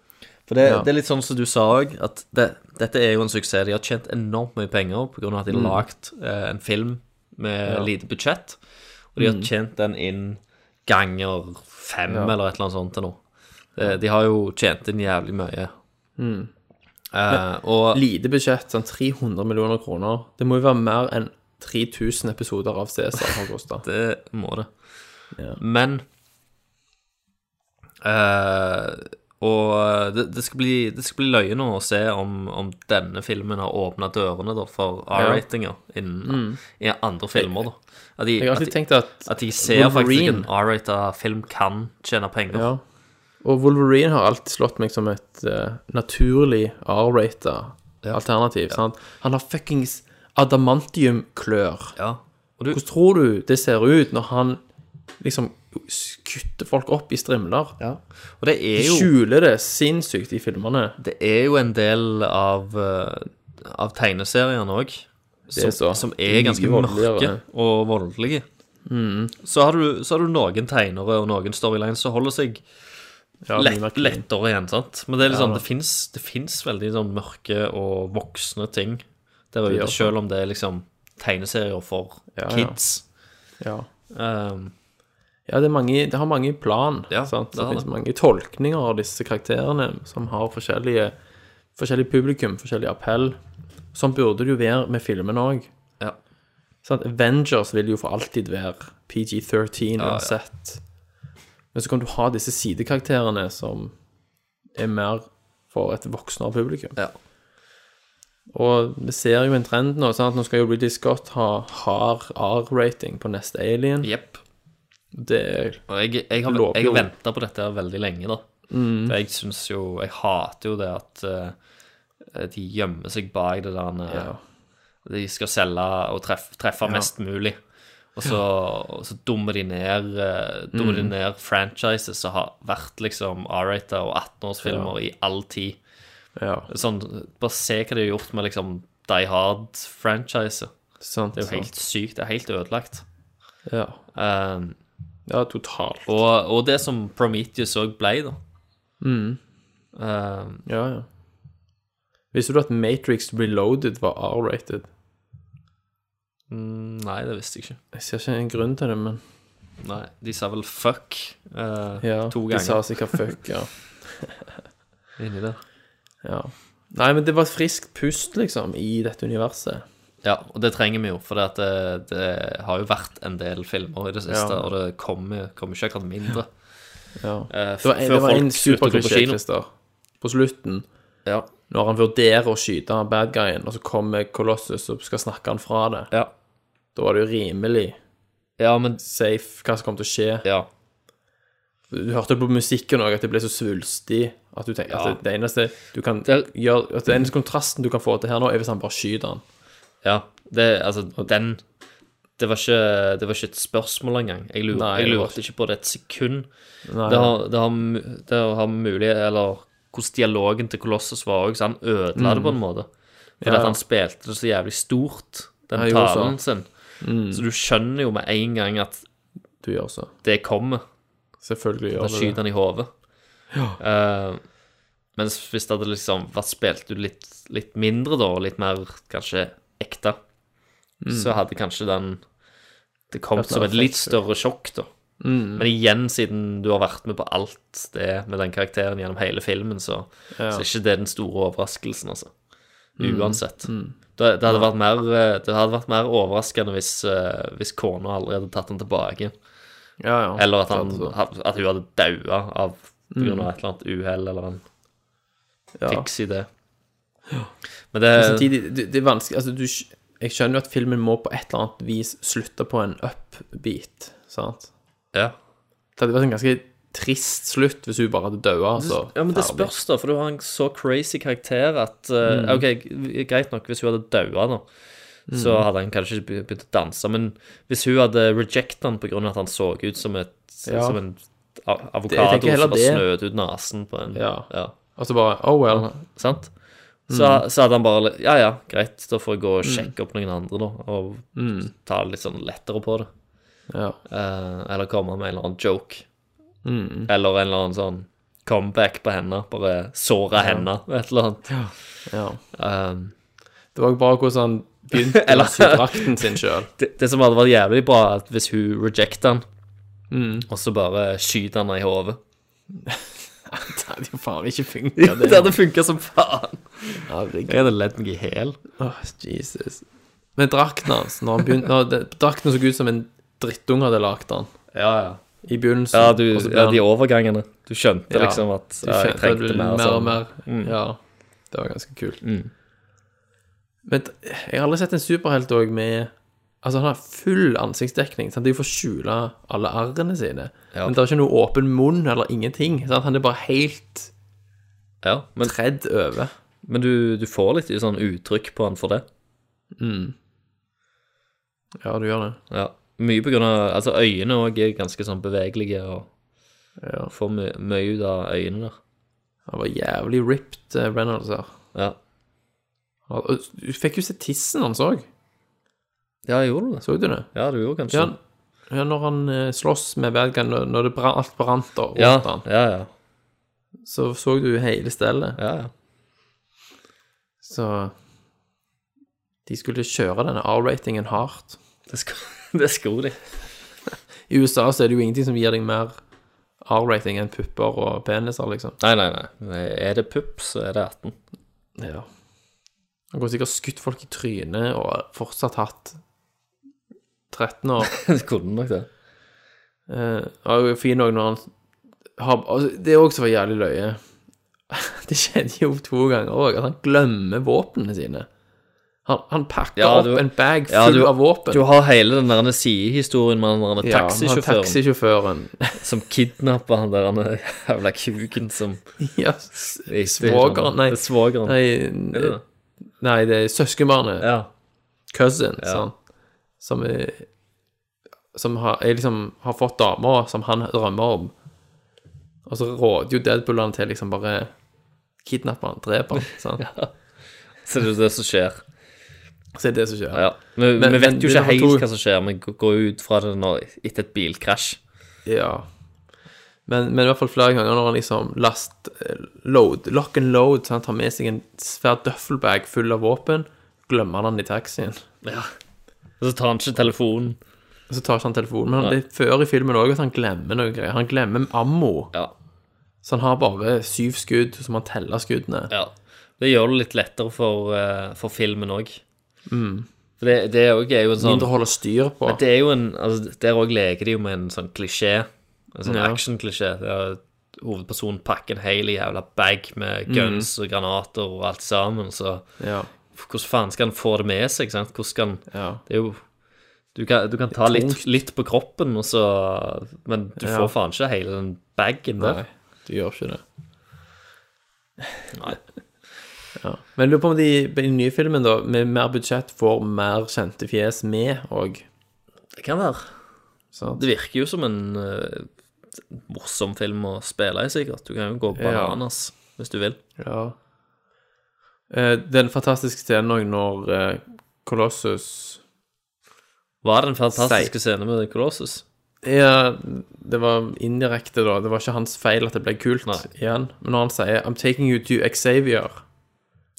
For det, Ja. det er litt sånn som du sa òg, at det, dette er jo en suksess. De har tjent enormt mye penger pga. at de har Mm. lagd eh, en film med Ja. lite budsjett, og de har Mm. tjent den inn ganger fem Ja. eller et eller annet sånt til nå. Eh, De har jo tjent inn jævlig mye. Mm. Eh, Men og Lite budsjett, sånn 300 millioner kroner. Det må jo være mer enn 3000 episoder av Cæsar har kosta. det må det. Men eh, Og det, det, skal bli, det skal bli løye nå å se om, om denne filmen har åpna dørene da, for Ja. R-ratinger innen Mm. i andre filmer. da. At de, Jeg har alltid at de, tenkt at at de ser faktisk at en Wolverine- R-rata film kan tjene penger. Ja. Og Wolverine har alltid slått meg som et eh, naturlig R-rata alternativ. Sant? Han har fuckings adamantiumklør. Ja. Hvordan tror du det ser ut når han liksom kutter folk opp i strimler? Og det er jo De skjuler det sinnssykt i filmene. Det er jo en del av, eh, av tegneseriene òg, Det er som, så. som er ganske Mye mørke voldeligere. og voldelige. Mm. Så, har du, så har du noen tegnere og noen storylines som holder seg Ja, mye lett, mer clean. lettere igjen, sant. Men det er Ja, liksom, da. det fins det finnes veldig sånn mørke og voksne ting der Det ute, gjør det. selv om det er liksom tegneserier for Ja, ja. kids. Ja. Um, Ja, det, er mange, det har mange plan. sant? det Det, har finnes det. mange tolkninger av disse karakterene som har forskjellige, forskjellig publikum, forskjellig appell. Sånn burde det jo være med filmen òg. Ja. Avengers vil jo for alltid være PG-13 Ja, ja. uansett. Men så kan du ha disse sidekarakterene som er mer for et voksnere publikum. Og vi ser jo en trend nå. Sant? Nå skal jo Ridley Scott ha hard R-rating på neste Alien. Jepp. Det er Og jeg, jeg har, Lover jeg har jo. venta på dette her veldig lenge, da. Mm. For jeg syns jo Jeg hater jo det at eh, de gjemmer seg bak det der eh, De skal selge og treffe, treffe Ja. mest mulig. Og så, og så dummer de ned eh, Dummer de Mm. ned franchises som har vært liksom R-rated og 18-årsfilmer i all tid. Sånn, bare se hva de har gjort med liksom Die Hard-franchiset. Sant, Det er jo sant. helt sykt. Det er helt ødelagt. Ja. Um, ja, totalt. Og, og det som Prometheus òg ble, da. Mm. Um, Ja, ja. Visste du at Matrix Reloaded var R-rated? mm, nei, det visste jeg ikke. Jeg ser ikke en grunn til det, men Nei, de sa vel fuck eh, ja, to de ganger. sa sikkert fuck, ja. Inni der. ja. Nei, men det var et friskt pust, liksom, i dette universet. Ja, og det trenger vi jo, for det, at det, det har jo vært en del filmer i det siste, Ja. og det kommer, kommer ikke akkurat mindre. Ja. Eh, Det var, f- det var en slutter å gå på superklisjé, kino. Christer, på slutten. Når han vurderer å skyte han bad guyen, og så kommer Colossus og skal snakke han fra det. Da var det jo rimelig safe hva som kom til å skje. Du hørte på musikken òg at det ble så svulstig at du tenker Ja. at det eneste du kan gjøre at det eneste kontrasten du kan få til her nå, er hvis han bare skyter han. Ja, det, altså, den det var, ikke, det var ikke et spørsmål engang. Jeg, lurer, Nei, jeg det var lurte ikke på det et sekund. Nei. Det har, det, har, mu- det har mulig Eller hvordan dialogen til Colossus var òg, så han ødela det Mm. på en måte. Fordi Ja, at ja. han spilte det så jævlig stort, den Han gjorde talen så. sin. Mm. Så du skjønner jo med en gang at Du gjør så. det kommer. Selvfølgelig Da gjør det skyter det. han i hodet. Eh, mens hvis det hadde liksom vært spilt ut litt, litt mindre, da, og litt mer kanskje ekte, Mm. så hadde kanskje den Det kom Vært som mer et litt effektfullt. større sjokk, da. Mm. Men igjen, siden du har vært med på alt det med den karakteren gjennom hele filmen, så, Ja. så er ikke det den store overraskelsen, altså. Mm. Uansett. Mm. Det, det, hadde vært mer, eh, det hadde vært mer overraskende hvis, eh, hvis kona allerede tatt den tilbake. Ja, ja. Eller at, han, Sant, så. at hun hadde daua av på grunn Mm. av et eller annet uhell eller en Ja. fiks idé. Men Men det samtidig, det, det er vanskelig altså, du, skj- Jeg skjønner jo at filmen må på et eller annet vis slutte på en upbeat, sant? Ja. Det hadde vært en ganske trist slutt hvis hun bare hadde daua. Altså, Ja, men det ferdig. spørs, da, for du har en så crazy karakter at eh, Mm. OK, g- greit nok hvis hun hadde daua, da, så Mm. hadde han kanskje ikke be- begynt å danse, men hvis hun hadde rejecta han på grunn av at han så ut som, et, Ja. som en a- Det- jeg avokado tenker heller som var det. snøet ut nesen på en Ja. ja. Og så bare Oh well. Sant? Så, så hadde han bare litt, Ja, ja, greit, da får jeg gå og sjekke opp noen andre, da, og Mm. ta det litt sånn lettere på det. Eh, eller komme med en eller annen joke. Mm. Eller en eller annen sånn comeback på henne. Bare såre Ja. henne, et eller annet. Um, det var jo bare hvordan han begynte å sy drakten sin sjøl. Det, det som hadde vært jævlig bra, er at hvis hun rejecter han, Mm. og så bare skyter han henne i hodet. Det hadde jo faen ikke funka, Det, hadde funka som faen. Herregud. Jeg hadde ledd meg i hæl. Åh, Jesus. Men drakten hans når han begynte, når det, Drakten så ut som en drittunge hadde lagd den. Ja, ja. I begynnelsen. Ja, du, og så ble ja, han- de overgangene. Du skjønte Ja, liksom at du ja, jeg skjønte at det trengte ble mer, mer og sånn. mer. Mm. Ja, det var ganske kult. Mm. Men d- jeg har aldri sett en superhelt òg med Altså, han har full ansiktsdekning. Sant? Det er jo for å skjule alle arrene sine. Ja. Men det er ikke noe åpen munn eller ingenting. Sant? Han er bare helt Ja, men, tredd over. men du, du får litt sånn uttrykk på han for det. Mm. Ja, du gjør det. Ja. Mye på grunn av Altså, øynene òg er ganske sånn bevegelige, og får my mye ut av øynene der. Han var jævlig ripped, eh, Reynolds her. Ja. Han- og Du fikk jo se tissen hans òg. Ja, gjorde du det? Så du det? Ja, du gjorde kanskje sånn. Ja, ja, når han eh, slåss med bad guy, når når det bra, alt brant og rundt ja, han, ja, ja. så så du hele stellet. Ja, ja. Så de skulle kjøre denne R-ratingen hardt. Det skulle, det skulle de. I USA så er det jo ingenting som gir deg mer R-rating enn pupper og peniser, liksom. Nei, nei, nei. Er det pupp, så er det 18. Ja. Han går sikkert skutt folk i trynet og fortsatt hatt 13 år. Det kunne nok det. Eh, og er jo fin òg når han har altså, Det er òg så jævlig løye. Det skjedde jo to ganger òg, at han glemmer våpnene sine. Han, han pakker Ja, du- opp en bag full ja, du- av våpen. Du har hele den der sidehistorien med den der Ja, han taxisjåføren taxisjåføren. som kidnapper han der han jævla kuken som Ja, Det er ikke- svogeren, nei. Det er svogeren. Nei, Er det det? nei, det er søskenbarnet. Ja. Cousin, Ja. sånn. Som er Som har, er liksom, har fått dama som han drømmer om. Og så råder jo Deadpool han til liksom bare kidnappe han, drepe han. sant? Så det er det som skjer. Så er det det som skjer. Ja. Vi, Men- vi vet men jo det ikke var helt to- hva som skjer, men gå- går ut fra det når, etter et bilkrasj. Ja. Men, men i hvert fall flere ganger når han liksom last eh, load, lock and load, så han tar med seg en svær duffelbag full av våpen, glemmer han den i taxien. Ja. Og så tar han ikke telefonen. Og så tar ikke han telefonen. Men Nei. det er før i filmen òg at han glemmer noe greier. Han glemmer ammo. Så han har bare syv skudd, som han teller skuddene. Ja. Det gjør det litt lettere for, eh, for filmen òg. Mm. For det, det er jo- er jo en sånn Mindre å holde styr på. Men det er jo en altså, Der òg leker de jo med en sånn klisjé. En sånn Ja. actionklisjé. der Hovedpersonen pakker en hel jævla bag med Mm. guns og granater og alt sammen. Så Ja. hvordan faen skal han få det med seg? Sant? Hvordan skal han Ja. Det er jo Du kan, du kan ta Det er litt, tungt. litt på kroppen, og så Men du Ja. får faen ikke hele den bagen der. Nei, du gjør ikke det. Ja. Men jeg lurer på om de i den nye filmen, da, med mer budsjett, får mer kjente fjes med òg. Det kan være. Sant? Det virker jo som en eh, morsom film å spille i, sikkert. Du kan jo gå Ja. bananas hvis du vil. Ja. Eh, Den fantastiske scenen òg når eh, Colossus Var den fantastiske Sei. scenen med Colossus? Ja, det var indirekte, da. Det var ikke hans feil at det ble kult igjen. Men når han sier 'I'm taking you to Xavier',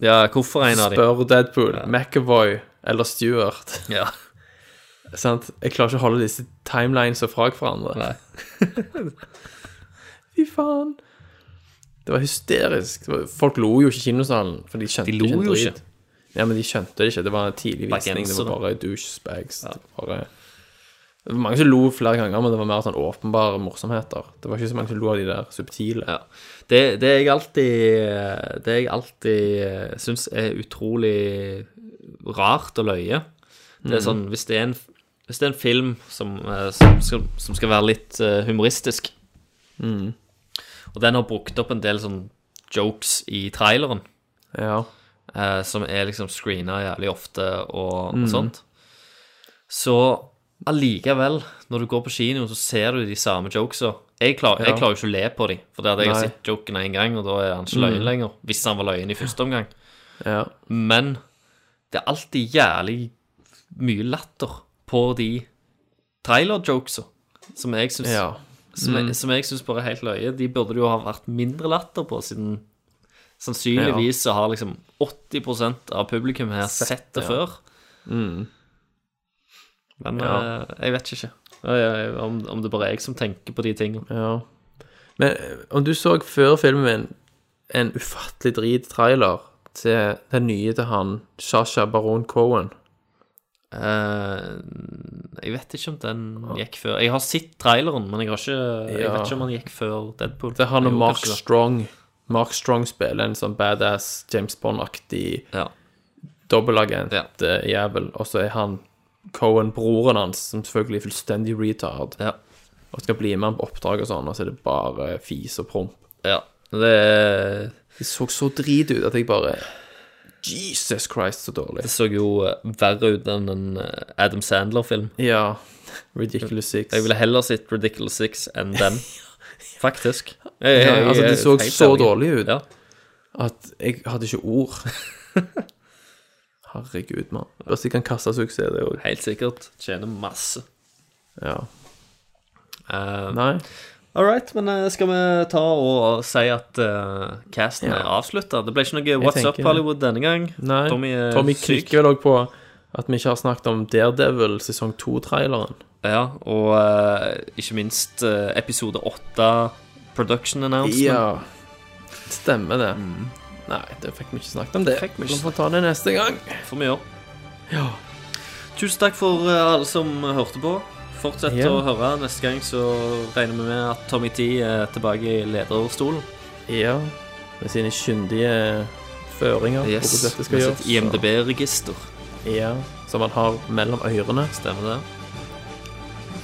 Ja, hvorfor en av dem? spør Deadpool, McAvoy eller Stewart Ja. Sant? Jeg klarer ikke å holde disse timelines fra hverandre. Fy faen. Det var hysterisk. Det var, folk lo jo ikke i kinosalen, for de skjønte De lo ikke en jo drit. ikke. Ja, men de skjønte det ikke. Det var en tidlig visning. Det Bergensere. var bare douchebags. Det, var bare... det var mange som lo flere ganger, men det var mer sånn åpenbare morsomheter. Det var ikke så mange som lo av de der subtile. Ja. Det, det jeg alltid Det jeg alltid eh, syns er utrolig rart og løye, det er Mhm. sånn Hvis det er en, hvis det er en film som, eh, som, skal, som skal være litt eh, humoristisk, Mhm. og den har brukt opp en del sånn jokes i traileren, Ja. eh, som er liksom screena jævlig ofte og, Mhm. og sånt, så allikevel, når du går på kino, så ser du de samme jokesa. Jeg, klar, Ja. jeg klarer jo ikke å le på dem, for det hadde jeg Nei. sett joken en gang, og da er han ikke løyen Mm. lenger. Hvis han var løyen i første omgang. Men det er alltid jævlig mye latter på de trailer-jokesa som jeg syns Ja. som, Mm. jeg- som jeg synes bare er helt løye. De burde det jo ha vært mindre latter på, siden sannsynligvis så har liksom 80 av publikum her Sett sett, det, det ja. før. Mm. Men Ja. eh, jeg vet ikke Eh, om, om det bare er jeg som tenker på de tingene. Ja. Men eh, om du så før filmen en ufattelig drit trailer til den nye til han, Sasha Baron Cohen Eh, Jeg vet ikke om den gikk før Jeg har sett traileren, men jeg, har ikke, jeg Ja. vet ikke om han gikk før Deadpool. Det er han og Jo, Mark kanskje det. Strong. Mark Strong spiller en sånn badass James Bond-aktig dobbelagent-jævel. Og så er han Cohen, broren hans, som selvfølgelig er fullstendig retard. Og skal bli med han på oppdrag og sånn, og så er det bare fis og promp. Ja. Det Det så så drit ut at jeg bare Jesus Christ, så dårlig. Det så jo eh, verre ut enn en eh, Adam Sandler-film. Ja. Ridiculous Six. Jeg ville heller sett Ridiculous Six enn den, faktisk. Jeg- Ja, jeg- altså, jeg det er så helt så ærlig. dårlig ut Ja. at jeg hadde ikke ord. Herregud, mann. Bør sikkert kaste suksess, det òg. Helt sikkert. Tjener masse. Ja. Nei. All right, men eh, skal vi ta og si at eh, casten Ja. er avslutta? Det ble ikke noe Jeg What's tenker- Up Hollywood denne gang. Nei, Tommy er syk. klikker vel også på at vi ikke har snakket om Daredevil sesong 2-traileren. Ja, og eh, ikke minst eh, episode åtte, production announcement. Ja. Stemmer det. Nei, det fikk vi ikke snakket om. det. Mm. Fikk vi Vi ikke får ta det neste gang. Får vi gjøre. Tusen takk for eh, alle som hørte på. Fortsett Ja. å høre. Neste gang så regner vi med at Tommy T er tilbake i lederstolen. Ja. Med sine kyndige føringer på Yes, hvordan dette skal med gjøres. sitt IMDb-register. Ja, som han har mellom ørene. Stemmer det.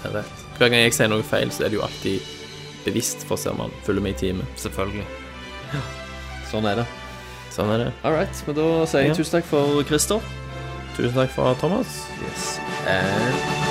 Det er rett. Hver gang jeg sier noe feil, så er det jo alltid bevisst, for ser man følger med i timen. Selvfølgelig. Sånn er det. Sånn er det. All right, men da sier jeg Ja. tusen takk for Christer. Tusen takk for Thomas. Yes. And